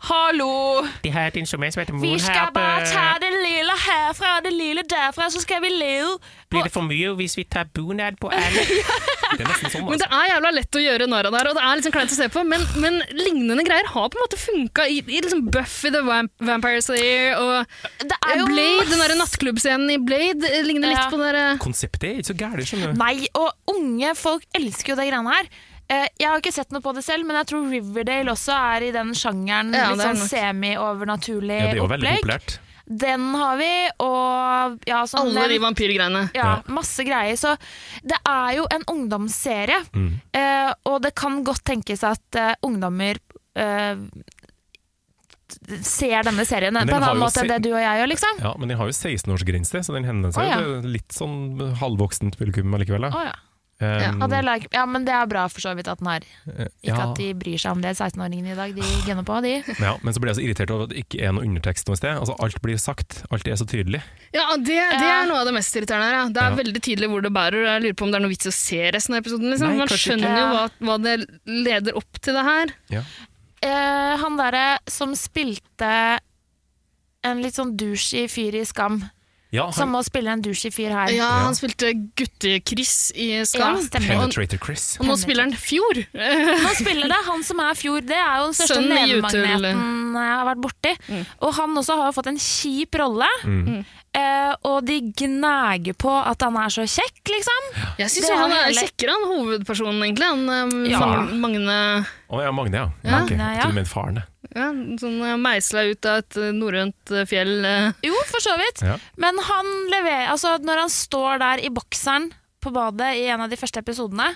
S1: Hallo!
S9: De har et instrument som heter
S1: Vi skal bare ta
S9: moonharp.
S1: det lille herfra og det lille derfra, så skal vi leve.
S9: Blir det for mye hvis vi tar bunad på alle?
S2: [laughs] Det er nesten sånn,
S3: Men
S2: altså.
S3: det er jævla lett å gjøre narr av det her, og det er liksom kleint å se på, men, men lignende greier har på en måte funka i, i liksom Buffy the Vamp Vampire Slayer og
S1: Det er jo
S3: Blade, den
S1: masse-
S3: der nattklubbscenen i Blade eh, ligner litt
S1: Ja.
S3: på den derre
S2: Konseptet er ikke så gærent, skjønner du.
S1: Nei, og unge folk elsker jo de greiene her. Eh, Jeg har ikke sett noe på det selv, men jeg tror Riverdale også er i den sjangeren.
S3: Ja,
S1: litt
S3: det er
S1: sånn
S3: nok.
S1: semi-overnaturlig
S2: Ja, det er jo veldig
S1: opplegg.
S2: populært.
S1: Den har vi, og ja, sånn
S3: Alle de
S1: den-
S3: vampyrgreiene.
S1: ja, masse greier. Så det er jo en ungdomsserie,
S2: Mm.
S1: eh, og det kan godt tenkes at eh, ungdommer eh, ser denne serien
S2: Men
S1: på
S2: den
S1: en
S2: har
S1: annen
S2: jo
S1: måte enn
S2: se-
S1: det du og jeg gjør, liksom.
S2: Ja, men de har jo 16-årsgrense, så den henvender seg
S1: Å, ja.
S2: jo til litt sånn halvvoksent publikum allikevel. Da.
S1: Å, ja.
S2: Um,
S1: Ja, det er like, ja, men det er bra for så vidt at den har Ikke
S2: eh, ja.
S1: at de bryr seg om det 16-åringene i dag, de gunner på, de.
S2: Ja, men så blir jeg så irritert over at det ikke er noe undertekst noe sted. Altså, alt blir sagt, alt er så tydelig.
S3: Ja, det, det
S1: Ja.
S3: er noe av det mest irriterende her. Ja. Det er
S2: Ja.
S3: veldig tydelig hvor det bærer, og jeg lurer på om det er noe vits i å se resten av episoden. Liksom.
S2: Nei,
S3: Man
S2: kanskje
S3: skjønner jo hva,
S1: ikke.
S3: hva det leder opp til det her.
S1: Eh, han derre som spilte en litt sånn douchey fyr i Skam,
S2: Ja,
S1: som
S2: han,
S1: må spille en douchey fyr her.
S3: Ja, han spilte gutte-Chris i
S1: Ja,
S3: Skam.
S1: stemmer.
S2: Penetrator Chris.
S3: og nå spiller han Fjord. [laughs]
S1: Han spiller det, han som er fjor. Det er jo den største
S3: Sønnen i Mm.
S1: nevemagneten jeg har vært borti. Og han også har jo fått en kjip rolle. Eh, og de gnager på at han er så kjekk, liksom.
S3: Jeg syns
S1: Det er
S3: han
S1: jo
S3: er
S1: hele-
S3: kjekkere, han hovedpersonen, egentlig. Han um,
S1: Ja.
S3: Fang- Magne
S2: Å ja, Magne, ja.
S3: Ja,
S2: Ok,
S1: Magne, ja.
S2: Til og med faren. ja.
S3: ja, sånn uh, meisla ut av et uh, norrønt uh, fjell. uh.
S1: Jo, for så vidt.
S2: Ja.
S1: Men han leverer Altså, når han står der i bokseren på badet i en av de første episodene
S3: [laughs]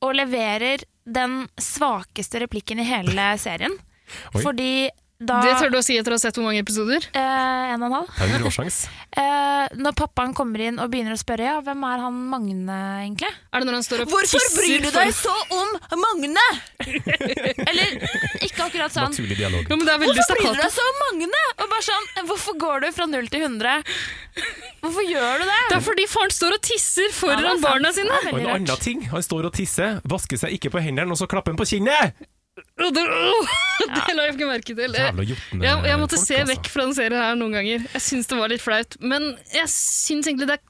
S1: og leverer den svakeste replikken i hele serien
S2: Oi.
S1: Fordi da
S3: Det tør du å si etter å ha sett hvor mange episoder?
S1: eh, En og en halv.
S2: Det er en
S1: [laughs]
S2: råsjans.
S1: Eh, når pappaen kommer inn og begynner å spørre ja, hvem er han Magne egentlig?
S3: Er det når han står og
S10: Hvorfor
S3: tisser
S10: bryr du
S3: for-
S10: deg så om Magne?
S1: [laughs] Eller ikke akkurat sånn.
S2: Naturlig dialog.
S3: Jo, men det er veldig
S1: Hvorfor bryr du
S3: stakkato.
S1: deg så om Magne? Og bare sånn, Hvorfor går du fra null til 100? Hvorfor gjør du det?
S3: Det er fordi faren står og tisser foran
S1: Ja, det er sant.
S3: barna sine!
S1: Det er
S2: Og en
S1: veldig
S2: annen
S1: rart.
S2: ting, han står og tisser, vasker seg ikke på hendene, og så klapper han på kinnet!
S3: Og Det åh, [laughs] det la jeg ikke merke til. Jeg,
S2: Jævla jotne
S3: jeg, jeg måtte
S2: folk,
S3: se
S2: altså.
S3: vekk fra den serien her noen ganger. Jeg syns det var litt flaut. Men jeg syns egentlig det er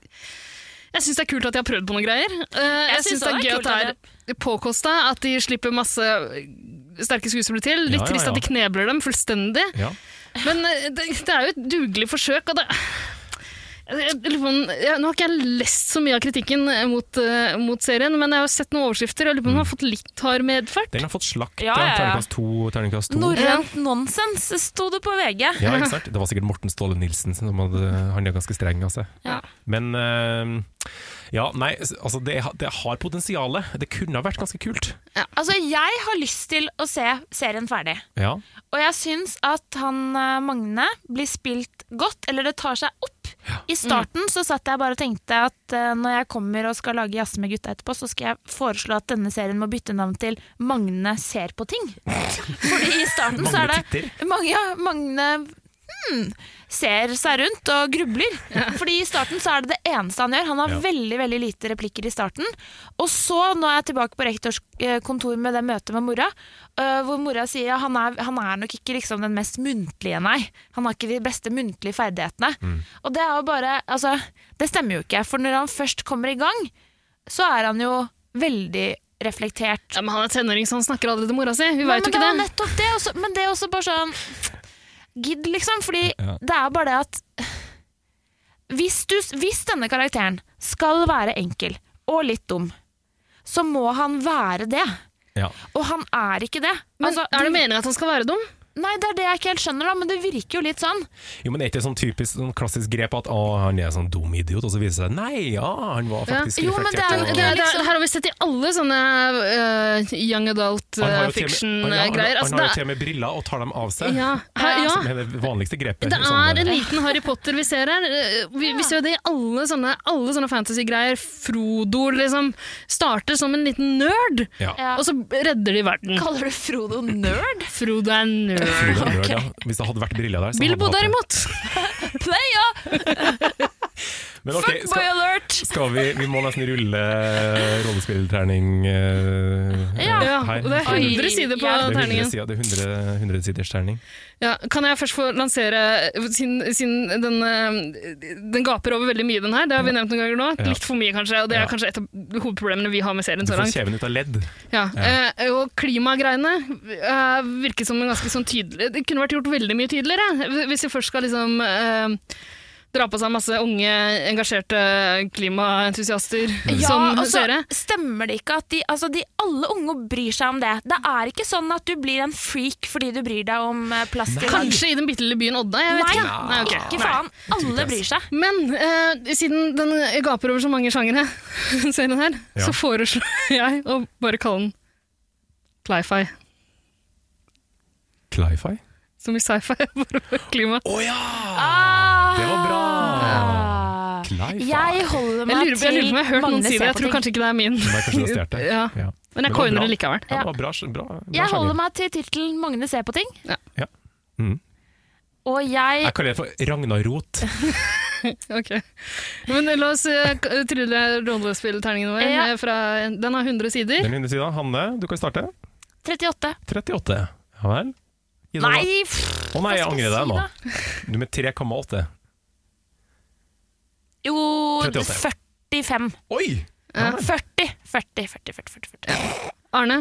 S3: jeg syns det er kult at de har prøvd på noen greier. Eh, jeg
S1: syns
S3: syns
S1: også
S3: det er gøy
S1: kult at
S3: at det er påkosta, at de slipper masse sterke skuespillere til. Litt
S2: Ja, ja,
S3: trist
S2: ja.
S3: at de knebler dem fullstendig.
S2: Ja.
S3: Men eh, det, det er jo et dugelig forsøk. Og det, jeg, jeg lurer på om- jeg, nå har ikke jeg lest så mye av kritikken eh, mot, eh, mot serien, men jeg har jo sett noen overskrifter. og Jeg lurer på om den har
S2: Mm.
S3: fått litt hard medfart.
S2: Den har fått slakt
S1: Ja, ja, ja.
S2: terningkast to. Terningkast to.
S1: Norrønt nonsens sto det på VG.
S3: [laughs]
S2: Ja, ikke sant? Det var sikkert Morten Ståle Nilsen som hadde, han er ganske streng av seg.
S1: Ja.
S2: Men eh, ja, nei, altså det, ha- det har potensialet. Det kunne ha vært ganske kult.
S1: Altså, jeg har lyst til å se serien ferdig.
S2: Ja,
S1: Og jeg syns at han eh, Magne blir spilt godt, eller det tar seg opp. I starten så satt jeg bare og tenkte at eh, når jeg kommer og skal lage jazz med gutta etterpå, så skal jeg foreslå at denne serien må bytte navn til Magne ser på [laughs] ting. Fordi i starten så er
S2: Magne
S1: det
S2: titter.
S1: Magne, ja, Magne hmm, ser seg rundt og grubler. Fordi i starten så er det det eneste han gjør. Han har
S2: Ja.
S1: veldig veldig lite replikker i starten. Og så, nå er jeg tilbake på rektors eh, kontor med det møtet med mora, eh, hvor mora sier at han, er- han er nok ikke liksom den mest muntlige, nei. Han har ikke de beste muntlige ferdighetene. Og det er jo bare Altså, det stemmer jo ikke. For når han først kommer i gang, så er han jo veldig reflektert
S3: Ja, men han er tenåring, så han snakker aldri til mora si. Vi
S1: Nei,
S3: vet
S1: men
S3: jo ikke
S1: er
S3: det.
S1: nettopp det. Også, men det er også bare sånn Gidd, liksom. Fordi
S2: Ja.
S1: det er bare det at hvis, du, hvis denne karakteren skal være enkel og litt dum, så må han være det.
S2: ja.
S1: Og han er ikke det.
S3: Men
S1: Altså,
S3: er det
S1: det-
S3: meningen at han skal være dum?
S1: Nei, det er det jeg ikke helt skjønner, da, men det virker jo litt sånn.
S2: Jo, men er ikke det sånn typisk sånn klassisk grep at å, han er sånn dum idiot, og så viser det seg nei, ja, han var
S3: Ja.
S2: faktisk
S1: Jo, men det er-
S2: reflektert.
S3: Det,
S2: og-
S3: det,
S1: er
S3: det,
S1: liksom-
S3: her har vi sett i alle sånne øh, young adult eh,
S2: Han har jo til og med- han- ja, han-
S3: fiction-greier.
S2: Han har jo
S3: Altså,
S2: til og med briller og tar dem av
S3: det,
S2: seg.
S3: ja, her, ja.
S2: Som er altså, det vanligste grepet.
S3: Det
S2: sånn,
S3: er en liten Harry Potter vi ser her. Eh, Vi, vi ser jo det i alle sånne, alle sånne fantasy-greier. Frodo liksom starter som en liten nerd,
S2: ja.
S1: Ja.
S3: og så redder de verden.
S1: Kaller du Frodo
S3: [laughs]
S1: nerd?
S3: Frodo er nerd.
S2: Frode Nørd, ja. Hvis det hadde vært briller der så
S3: Bilbo
S2: hadde han hatt
S3: derimot,
S1: Playa!
S2: det. Men ok,
S1: Fuckboy
S2: skal,
S1: alert!
S2: skal vi, vi må nesten rulle rollespillterning eh,
S1: Ja.
S3: ja,
S2: her.
S3: og det er 100 sider på
S1: Ja.
S2: Det er 100
S3: terningen.
S2: sider- det er 100 100 siders terning.
S3: Ja, kan jeg først få lansere eh, siden, siden den, eh, den gaper over veldig mye, den her. Det har vi nevnt noen ganger nå.
S2: Ja.
S3: Litt for mye, kanskje. Og det
S2: Ja.
S3: er kanskje et av hovedproblemene vi har med serien
S2: Du
S3: så
S2: får
S3: langt.
S2: kjeven ut av ledd.
S3: Ja. Eh, og klimagreiene eh, virker som en ganske sånn tydelig Det kunne vært gjort veldig mye tydeligere. Hvis vi først skal liksom eh, dra på seg masse unge, engasjerte klimaentusiaster som
S1: og så
S3: seere.
S1: stemmer det ikke at de, altså de alle unge bryr seg om det. Det er ikke sånn at du blir en freak fordi du bryr deg om eh, plast i dag.
S3: Kanskje i den bitte lille byen Odda, jeg vet
S1: Nei,
S3: ikke. Nei, ok.
S1: ikke faen. Alle bryr seg.
S3: Men eh, siden den gaper over så mange sjangere, [laughs] serien her,
S2: Ja.
S3: så foreslår [laughs] jeg å bare kalle den Clifi.
S2: Clifi?
S3: Som i sci-fi, [laughs] bare for klima.
S2: Å ja!
S3: Ah.
S2: Det var bra!
S1: Ah.
S2: Clifi.
S1: Jeg holder
S3: Jeg
S1: meg
S3: lurer, på- jeg lurer på om jeg har hørt noen
S1: Magne
S3: si det.
S1: ser
S3: Jeg
S1: på
S3: tror
S1: ting.
S3: kanskje ikke det er
S2: [laughs]
S3: min.
S2: Nei, kanskje du har stjålet det.
S3: Ja.
S2: Ja.
S3: Men
S2: det
S3: jeg
S2: var
S3: coiner
S2: bra.
S3: det likevel.
S2: Ja, det var bra, bra, bra
S1: Jeg
S2: sjanger.
S1: holder meg til tittelen 'Magne ser på ting'.
S3: Ja.
S2: Ja. Mm.
S1: Og jeg
S2: Jeg kaller det for Ragnar Rot.
S3: Ok. Men la oss eh, k- trylle rollespillterningen vår.
S1: Ja.
S3: eh, Fra, den har 100 sider.
S2: Den undersida. Hanne, du kan starte.
S1: 38.
S2: 38. Ja vel? Gi deg
S1: Nei,
S2: nå.
S1: pff,
S2: Å
S1: hva
S2: nei, jeg
S1: skal
S2: angrer
S1: jeg
S2: deg
S1: si
S2: nå.
S1: da?
S2: Du med 3,8.
S1: Jo,
S2: 38.
S1: 45.
S2: Oi!
S1: 40. 40, 40, 40, 40, 40.
S3: Arne,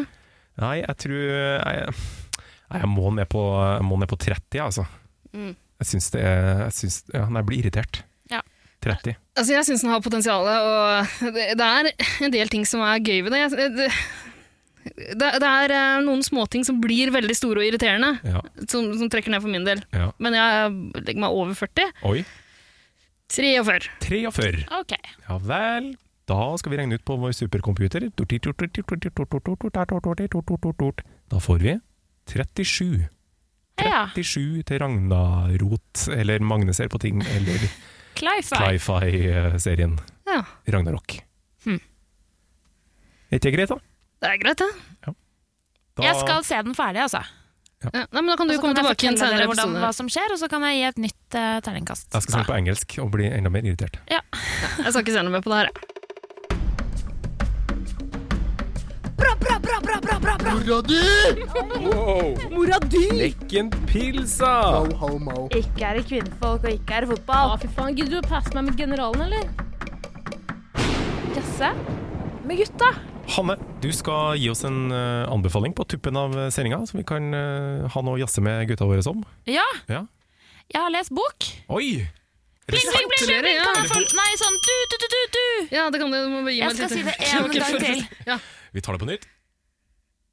S2: Nei, jeg tror Jeg, nei, jeg, må, ned på, jeg må ned på 30, altså.
S3: Mm.
S2: Jeg syns det er jeg syns, ja, nei, Jeg blir irritert.
S1: Ja.
S2: 30.
S3: altså jeg syns den har potensial, og det, det er en del ting som er gøy ved det. Jeg- Det, det, det er eh, noen småting som blir veldig store og irriterende,
S2: Ja.
S3: som, som trekker ned for min del.
S2: ja.
S3: Men jeg legger meg over 40.
S2: Oi.
S3: 43.
S2: 43.
S1: Ok.
S2: Ja vel. Da skal vi regne ut på vår supercomputer. Da får vi 37.
S1: Ja,
S2: 37 til Ragnarot, eller Magne ser på ting,
S1: [laughs]
S2: eller
S1: Clifi.
S2: Clifi-serien
S3: Ja.
S2: Ragnarok.
S1: Hmm.
S2: Er ikke det greit, da?
S3: Det er greit, det.
S2: da
S1: Jeg skal se den ferdig, altså.
S3: Ja. Nei, men da kan du
S1: Så
S3: komme
S1: kan jeg
S3: tilbake i en
S1: fortelle
S3: senere
S1: dere hvordan,
S3: episode.
S1: hva som skjer, og så kan jeg gi et nytt eh, terningkast.
S2: jeg skal se den på engelsk og bli enda mer irritert.
S3: [laughs] Jeg skal ikke se noe mer på det her. jeg.
S8: Mora di!
S5: Lekken pilsa!
S10: Ikke er det kvinnefolk, og ikke er det fotball.
S6: Å, fy faen. Gidder du å passe meg med generalen, eller?
S10: Jasse med gutta.
S2: Hanne, du skal gi oss en eh, anbefaling på tuppen av sendinga, som vi kan eh, ha noe å jazze med gutta våre om.
S1: Ja,
S2: Ja.
S1: jeg har lest bok.
S2: Oi!
S1: Bling, bling, bling, bling, bling. Kan jeg få- Nei, sånn du, du, du, du, du.
S3: Ja, det kan du, du må gi
S1: Jeg
S3: meg
S1: skal
S3: litt-
S1: si det
S3: var
S1: en gang
S3: ikke
S1: til.
S3: forberedt. Ja.
S2: Vi tar det på nytt.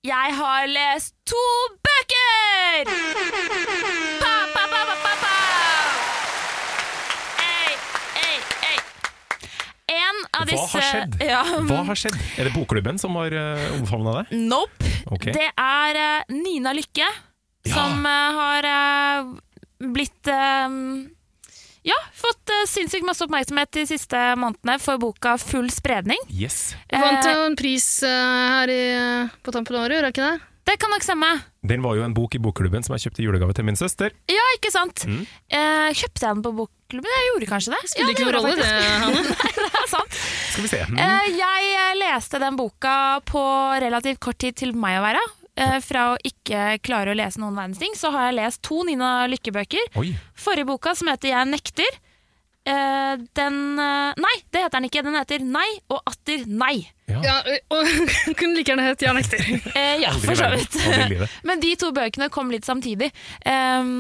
S1: Jeg har lest to bøker! Pa, pa, pa, pa, pa, pa. Ei, ei, ei. En av
S2: Hva
S1: disse
S2: har skjedd?
S1: eh, Ja,
S2: Hva har skjedd? Er det Bokklubben som har uh, omfavna deg?
S1: Nope.
S2: Ok.
S1: Det er eh, Nina Lykke
S2: Ja.
S1: som eh, har eh, blitt eh, Ja, fått eh, sinnssykt masse oppmerksomhet de siste månedene for boka Full spredning.
S2: Yes.
S3: Du vant
S1: Eh,
S3: jo en pris eh, her i, på tampen av året, gjorde jeg ikke det?
S1: det kan nok stemme.
S2: Den var jo en bok i Bokklubben som jeg kjøpte i julegave til min søster.
S1: Ja, ikke sant?
S2: Mm.
S1: Eh, kjøpte jeg den på bokklubben? Jeg gjorde kanskje det.
S3: Spiller ikke noen rolle, det, Hanne.
S1: det [laughs] er sant.
S2: Skal vi se. Mm.
S1: Eh, jeg eh, leste den boka på relativt kort tid til meg å være. Eh, fra å ikke klare å lese noen verdens ting, så har jeg lest to Nina Lykke-bøker.
S2: Oi.
S1: Forrige boka, som heter Jeg nekter, eh, den eh, Nei, det heter den ikke. Den heter Nei og atter nei.
S3: Ja, og [laughs] kunne like gjerne hett Jeg nekter.
S1: [laughs] Eh, ja,
S2: Aldri i
S1: for så
S2: verden.
S1: vidt.
S2: Aldri i livet.
S1: [laughs] Men de to bøkene kom litt samtidig. Um,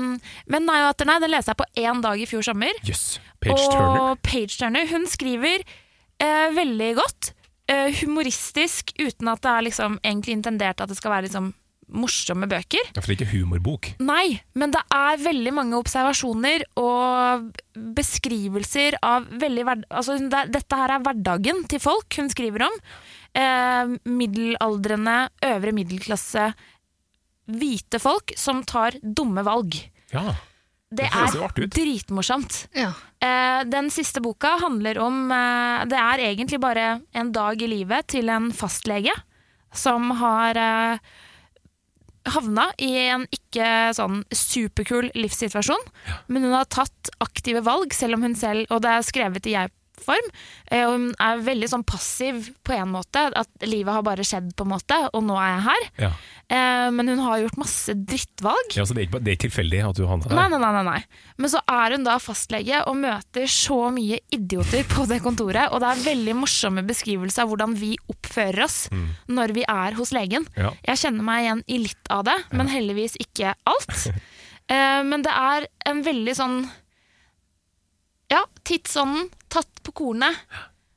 S1: men Nei og atter nei den leste jeg på én dag i fjor sommer.
S2: Jøss. Page Turner.
S1: Og Page Turner. Hun skriver eh, veldig godt. eh, humoristisk, uten at det er liksom egentlig intendert at det skal være liksom morsomme bøker.
S2: Ja, for det er ikke humorbok.
S1: Nei, men det er veldig mange observasjoner og beskrivelser av veldig hverd... Altså, det, dette her er hverdagen til folk hun skriver om. Eh, middelaldrende, øvre middelklasse, hvite folk som tar dumme valg.
S2: Ja.
S1: Det
S2: høres jo artig
S1: er
S2: ut.
S1: dritmorsomt.
S3: Ja.
S1: Eh, den siste boka handler om eh, Det er egentlig bare en dag i livet til en fastlege som har eh, havna i en ikke sånn superkul livssituasjon. Men hun har tatt aktive valg, selv om hun selv Og det er skrevet i jeg-form. Eh, og hun er veldig sånn passiv på en måte. At livet har bare skjedd, på en måte, og nå er jeg her.
S2: Ja.
S1: Eh, men hun har gjort masse drittvalg.
S2: ja, så det er ikke, det er ikke tilfeldig at du havna
S1: Nei,
S2: der.
S1: nei, nei, nei, nei. Men så er hun da fastlege og møter så mye idioter på det kontoret, og det er veldig morsomme beskrivelser av hvordan vi oppfører oss når vi er hos legen.
S2: Ja.
S1: Jeg kjenner meg igjen i litt av det, men heldigvis ikke alt. Eh, men det er en veldig sånn Ja, tidsånden tatt på kornet.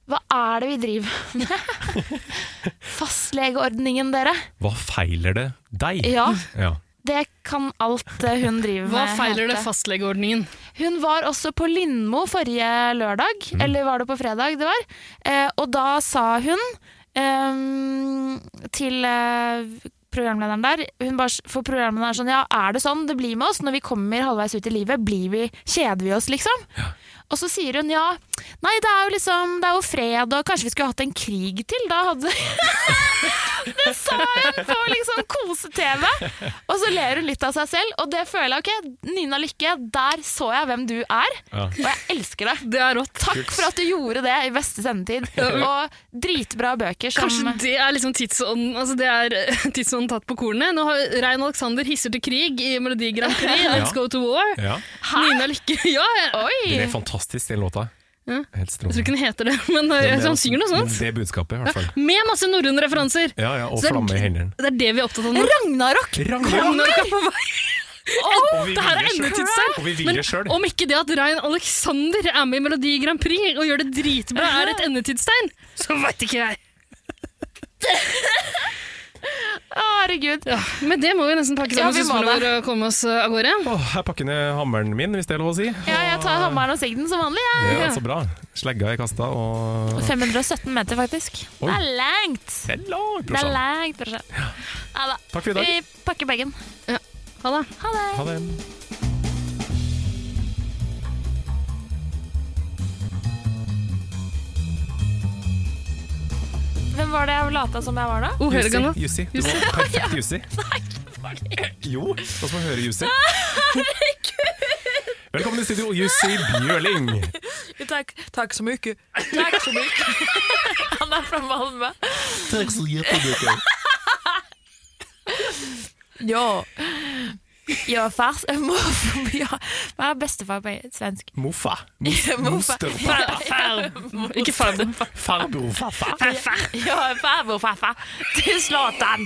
S1: Hva er det vi driver med? Fastlegeordningen, dere.
S2: Hva feiler det deg?
S1: Ja,
S2: Ja.
S1: det kan alt eh, hun driver med. eh.
S3: Hva feiler det
S1: hete.
S3: fastlegeordningen?
S1: Hun var også på Lindmo forrige lørdag, eller var det på fredag det var? Eh, og da sa hun eh, til eh, programlederen der hun bare, For programlederen er sånn Ja, er det sånn det blir med oss når vi kommer halvveis ut i livet? Blir vi, kjeder vi oss, liksom? Og så sier hun ja. Nei, det er jo liksom Det er jo fred, og kanskje vi skulle hatt en krig til? Da hadde Det sa hun på liksom kose-TV! Og så ler hun litt av seg selv, og det føler jeg ok. Nina Lykke, der så jeg hvem du er,
S2: Ja.
S1: og jeg elsker deg.
S3: Det er rått.
S1: Takk for at du gjorde det i beste sendetid. Og dritbra bøker som
S3: Kanskje det er liksom tidsånden altså det er [laughs] eh, tidsånden tatt på kornet. Nå har Rein Alexander hisser til krig i Melodi Grand Prix, Let's Go to War.
S2: ja.
S3: Nina Lykke [laughs] Ja, jeg,
S2: Den
S1: Oi!
S2: er fantastisk, den låta.
S3: Ja.
S2: Helt
S3: jeg tror
S2: strålende.
S3: ikke den heter det, men eh,
S2: Men det er
S3: han
S2: også-
S3: synger noe sånt.
S2: Det er budskapet, i hvert fall.
S3: Med masse norrøne referanser.
S2: Ja, ja, og
S3: Så det er-
S2: flamme i hendene.
S3: Det er det vi er opptatt av nå.
S1: Ragnarok!
S3: Ragnarok er på
S2: [laughs]
S3: vei.
S2: Og vi
S3: Det her er
S2: vil det selv.
S3: endetidssang.
S2: Og vi vil
S3: Men
S2: det sjøl.
S3: om ikke det at Rein Alexander er med i Melodi Grand Prix og gjør det dritbra, er et endetidstegn, så veit ikke jeg.
S1: Herregud.
S3: Ja, men det må vi nesten pakke
S1: Ja,
S3: sammen
S1: vi må
S3: søstrene våre og komme oss eh, av gårde.
S2: Åh, jeg pakker ned hammeren min, hvis det er lov å si.
S1: Ja, jeg tar hammeren og sigden som vanlig. Jeg.
S2: Ja, så bra. Slegga er kasta, og
S1: 517 meter, faktisk.
S2: Oi.
S1: Det er langt!
S2: Hello,
S1: Det er
S2: brorsan.
S1: langt, brorsan. Ja da.
S2: Takk for i dag.
S1: Vi pakker bagen.
S3: Ha det.
S1: Ha det.
S2: Ha det.
S1: Hvem var det jeg lata som jeg var, da?
S2: Jussi, Jussi. Du var perfekt Jussi. Jo, la oss få høre Jussi. Velkommen til studio, Jussi Bjørling.
S1: Takk, takk så mye. Takk så mye. [laughs] Han er fra Malmö.
S2: Takk så jättemycket.
S1: Ja. Ja, fars eh, morfar [laughs] ja. Hva er bestefar på svensk?
S2: Moffa. Mos- Mosterfar.
S1: Far- far-
S3: Ikke farbror.
S2: Farbror, farfar.
S1: Farfar. Ja, farbror, farfar. Til Zlatan.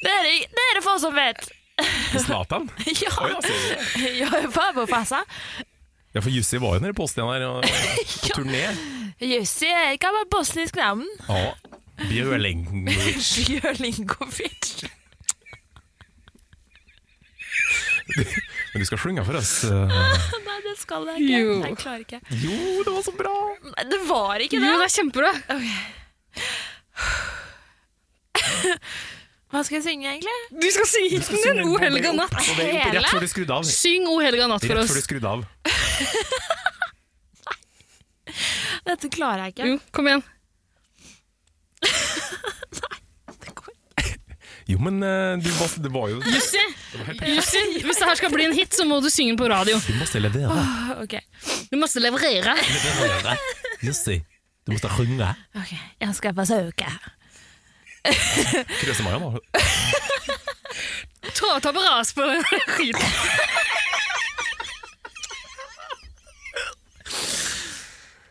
S1: Det er det, det er det få som vet.
S2: Zlatan.
S1: [laughs] Ja,
S2: Å, ja, sier du.
S1: ja farbror, farfar.
S2: Ja, for Jussi var jo nede i Bosnia der
S1: [laughs]
S2: og turné.
S1: Jussi er et gammelt bosnisk navn.
S2: Ja. Bjørling.
S1: Bjørlinkovic.
S2: Men du skal slynge for oss. eh.
S1: Nei, det skal jeg ikke.
S3: Jo.
S1: Jeg klarer ikke.
S2: Jo, det var så bra.
S1: Nei, det var ikke
S3: Jo, det
S1: det.
S3: er kjempebra.
S1: Hva skal jeg synge, egentlig?
S3: Du skal synge hiten din, O helga natt.
S2: Og det er rett før du skrudde av.
S3: Syng O helga natt for
S2: Rett før du
S3: oss.
S2: skrudde av.
S1: Dette klarer jeg ikke.
S3: Jo, kom igjen.
S1: Det går-
S2: Jo, men eh, du var, det var jo Du
S3: Jussi, Jussi, hvis det her skal bli en hit, så må du synge den på radio.
S2: måtte levere.
S1: Ok,
S3: Du måtte leverere.
S2: levere. Jussi, du måtte synge.
S1: ok. Jeg skal forsøke.
S2: Krøse-Maja, da.
S3: Ta, ta på ras på den skiten.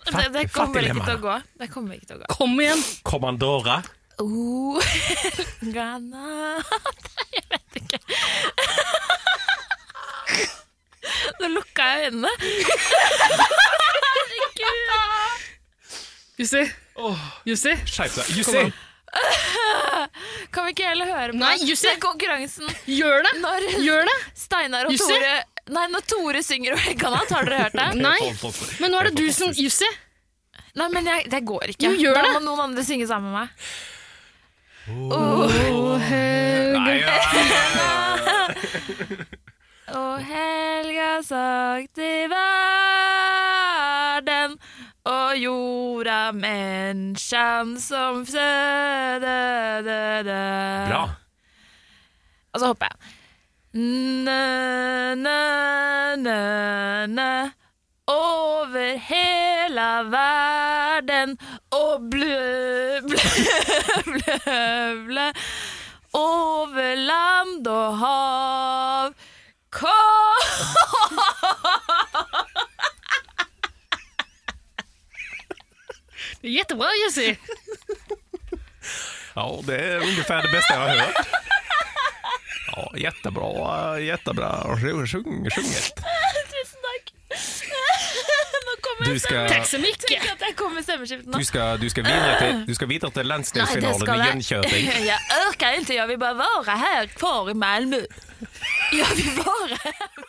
S1: Det, det kommer
S2: fattig
S1: ikke
S2: dilemma.
S1: til å gå. Det kommer ikke til å gå.
S3: Kom igjen.
S2: Kommandora.
S1: Oh, granat [laughs] Jeg vet ikke. [laughs] Nå lukka jeg øynene. Herregud.
S3: Jussi. Jussi.
S2: Skjerp deg. Jussi!
S1: Kan vi ikke heller høre på
S3: Nei, Jussi.
S1: den konkurransen
S3: Gjør det.
S1: når
S3: Gjør det.
S1: Steinar og
S3: Jussi.
S1: Tore Nei, når Tore synger 'O helga natt', har dere hørt det?
S3: Nei.
S2: Helt fantastisk.
S3: Men nå er det
S2: Helt
S3: du som
S2: fantastisk.
S3: Jussi.
S1: Nei, men jeg, det går ikke.
S3: Jo, gjør
S1: da
S3: det.
S1: må noen andre synge sammen med meg.
S2: Nei, ja,
S1: [laughs] Og helga sagt i verden Og jorda menneskene som fødede
S2: Bra.
S1: Og så hopper jeg Nø, nø, nø, nø over hele verden og blø, [laughs] blø, blø, blø over land og hav. Kom!
S3: Jettebra, Jussi.
S2: Ja, og det er ungefär det beste jeg har hørt. Ja, jättebra, jättebra sjung- sjung- sjunget.
S1: Tusen takk. Nå kommer
S2: Du skal-
S3: Takk så mye.
S1: Tenk at jeg kom med stemmeskiftet nå.
S2: Du skal, du skal videre til, du skal videre til landsdelsfinalen i Jönköping.
S1: jeg. Jeg orker ikke. Jeg vil bare være her, kvar i Malmö. Jeg vil være her.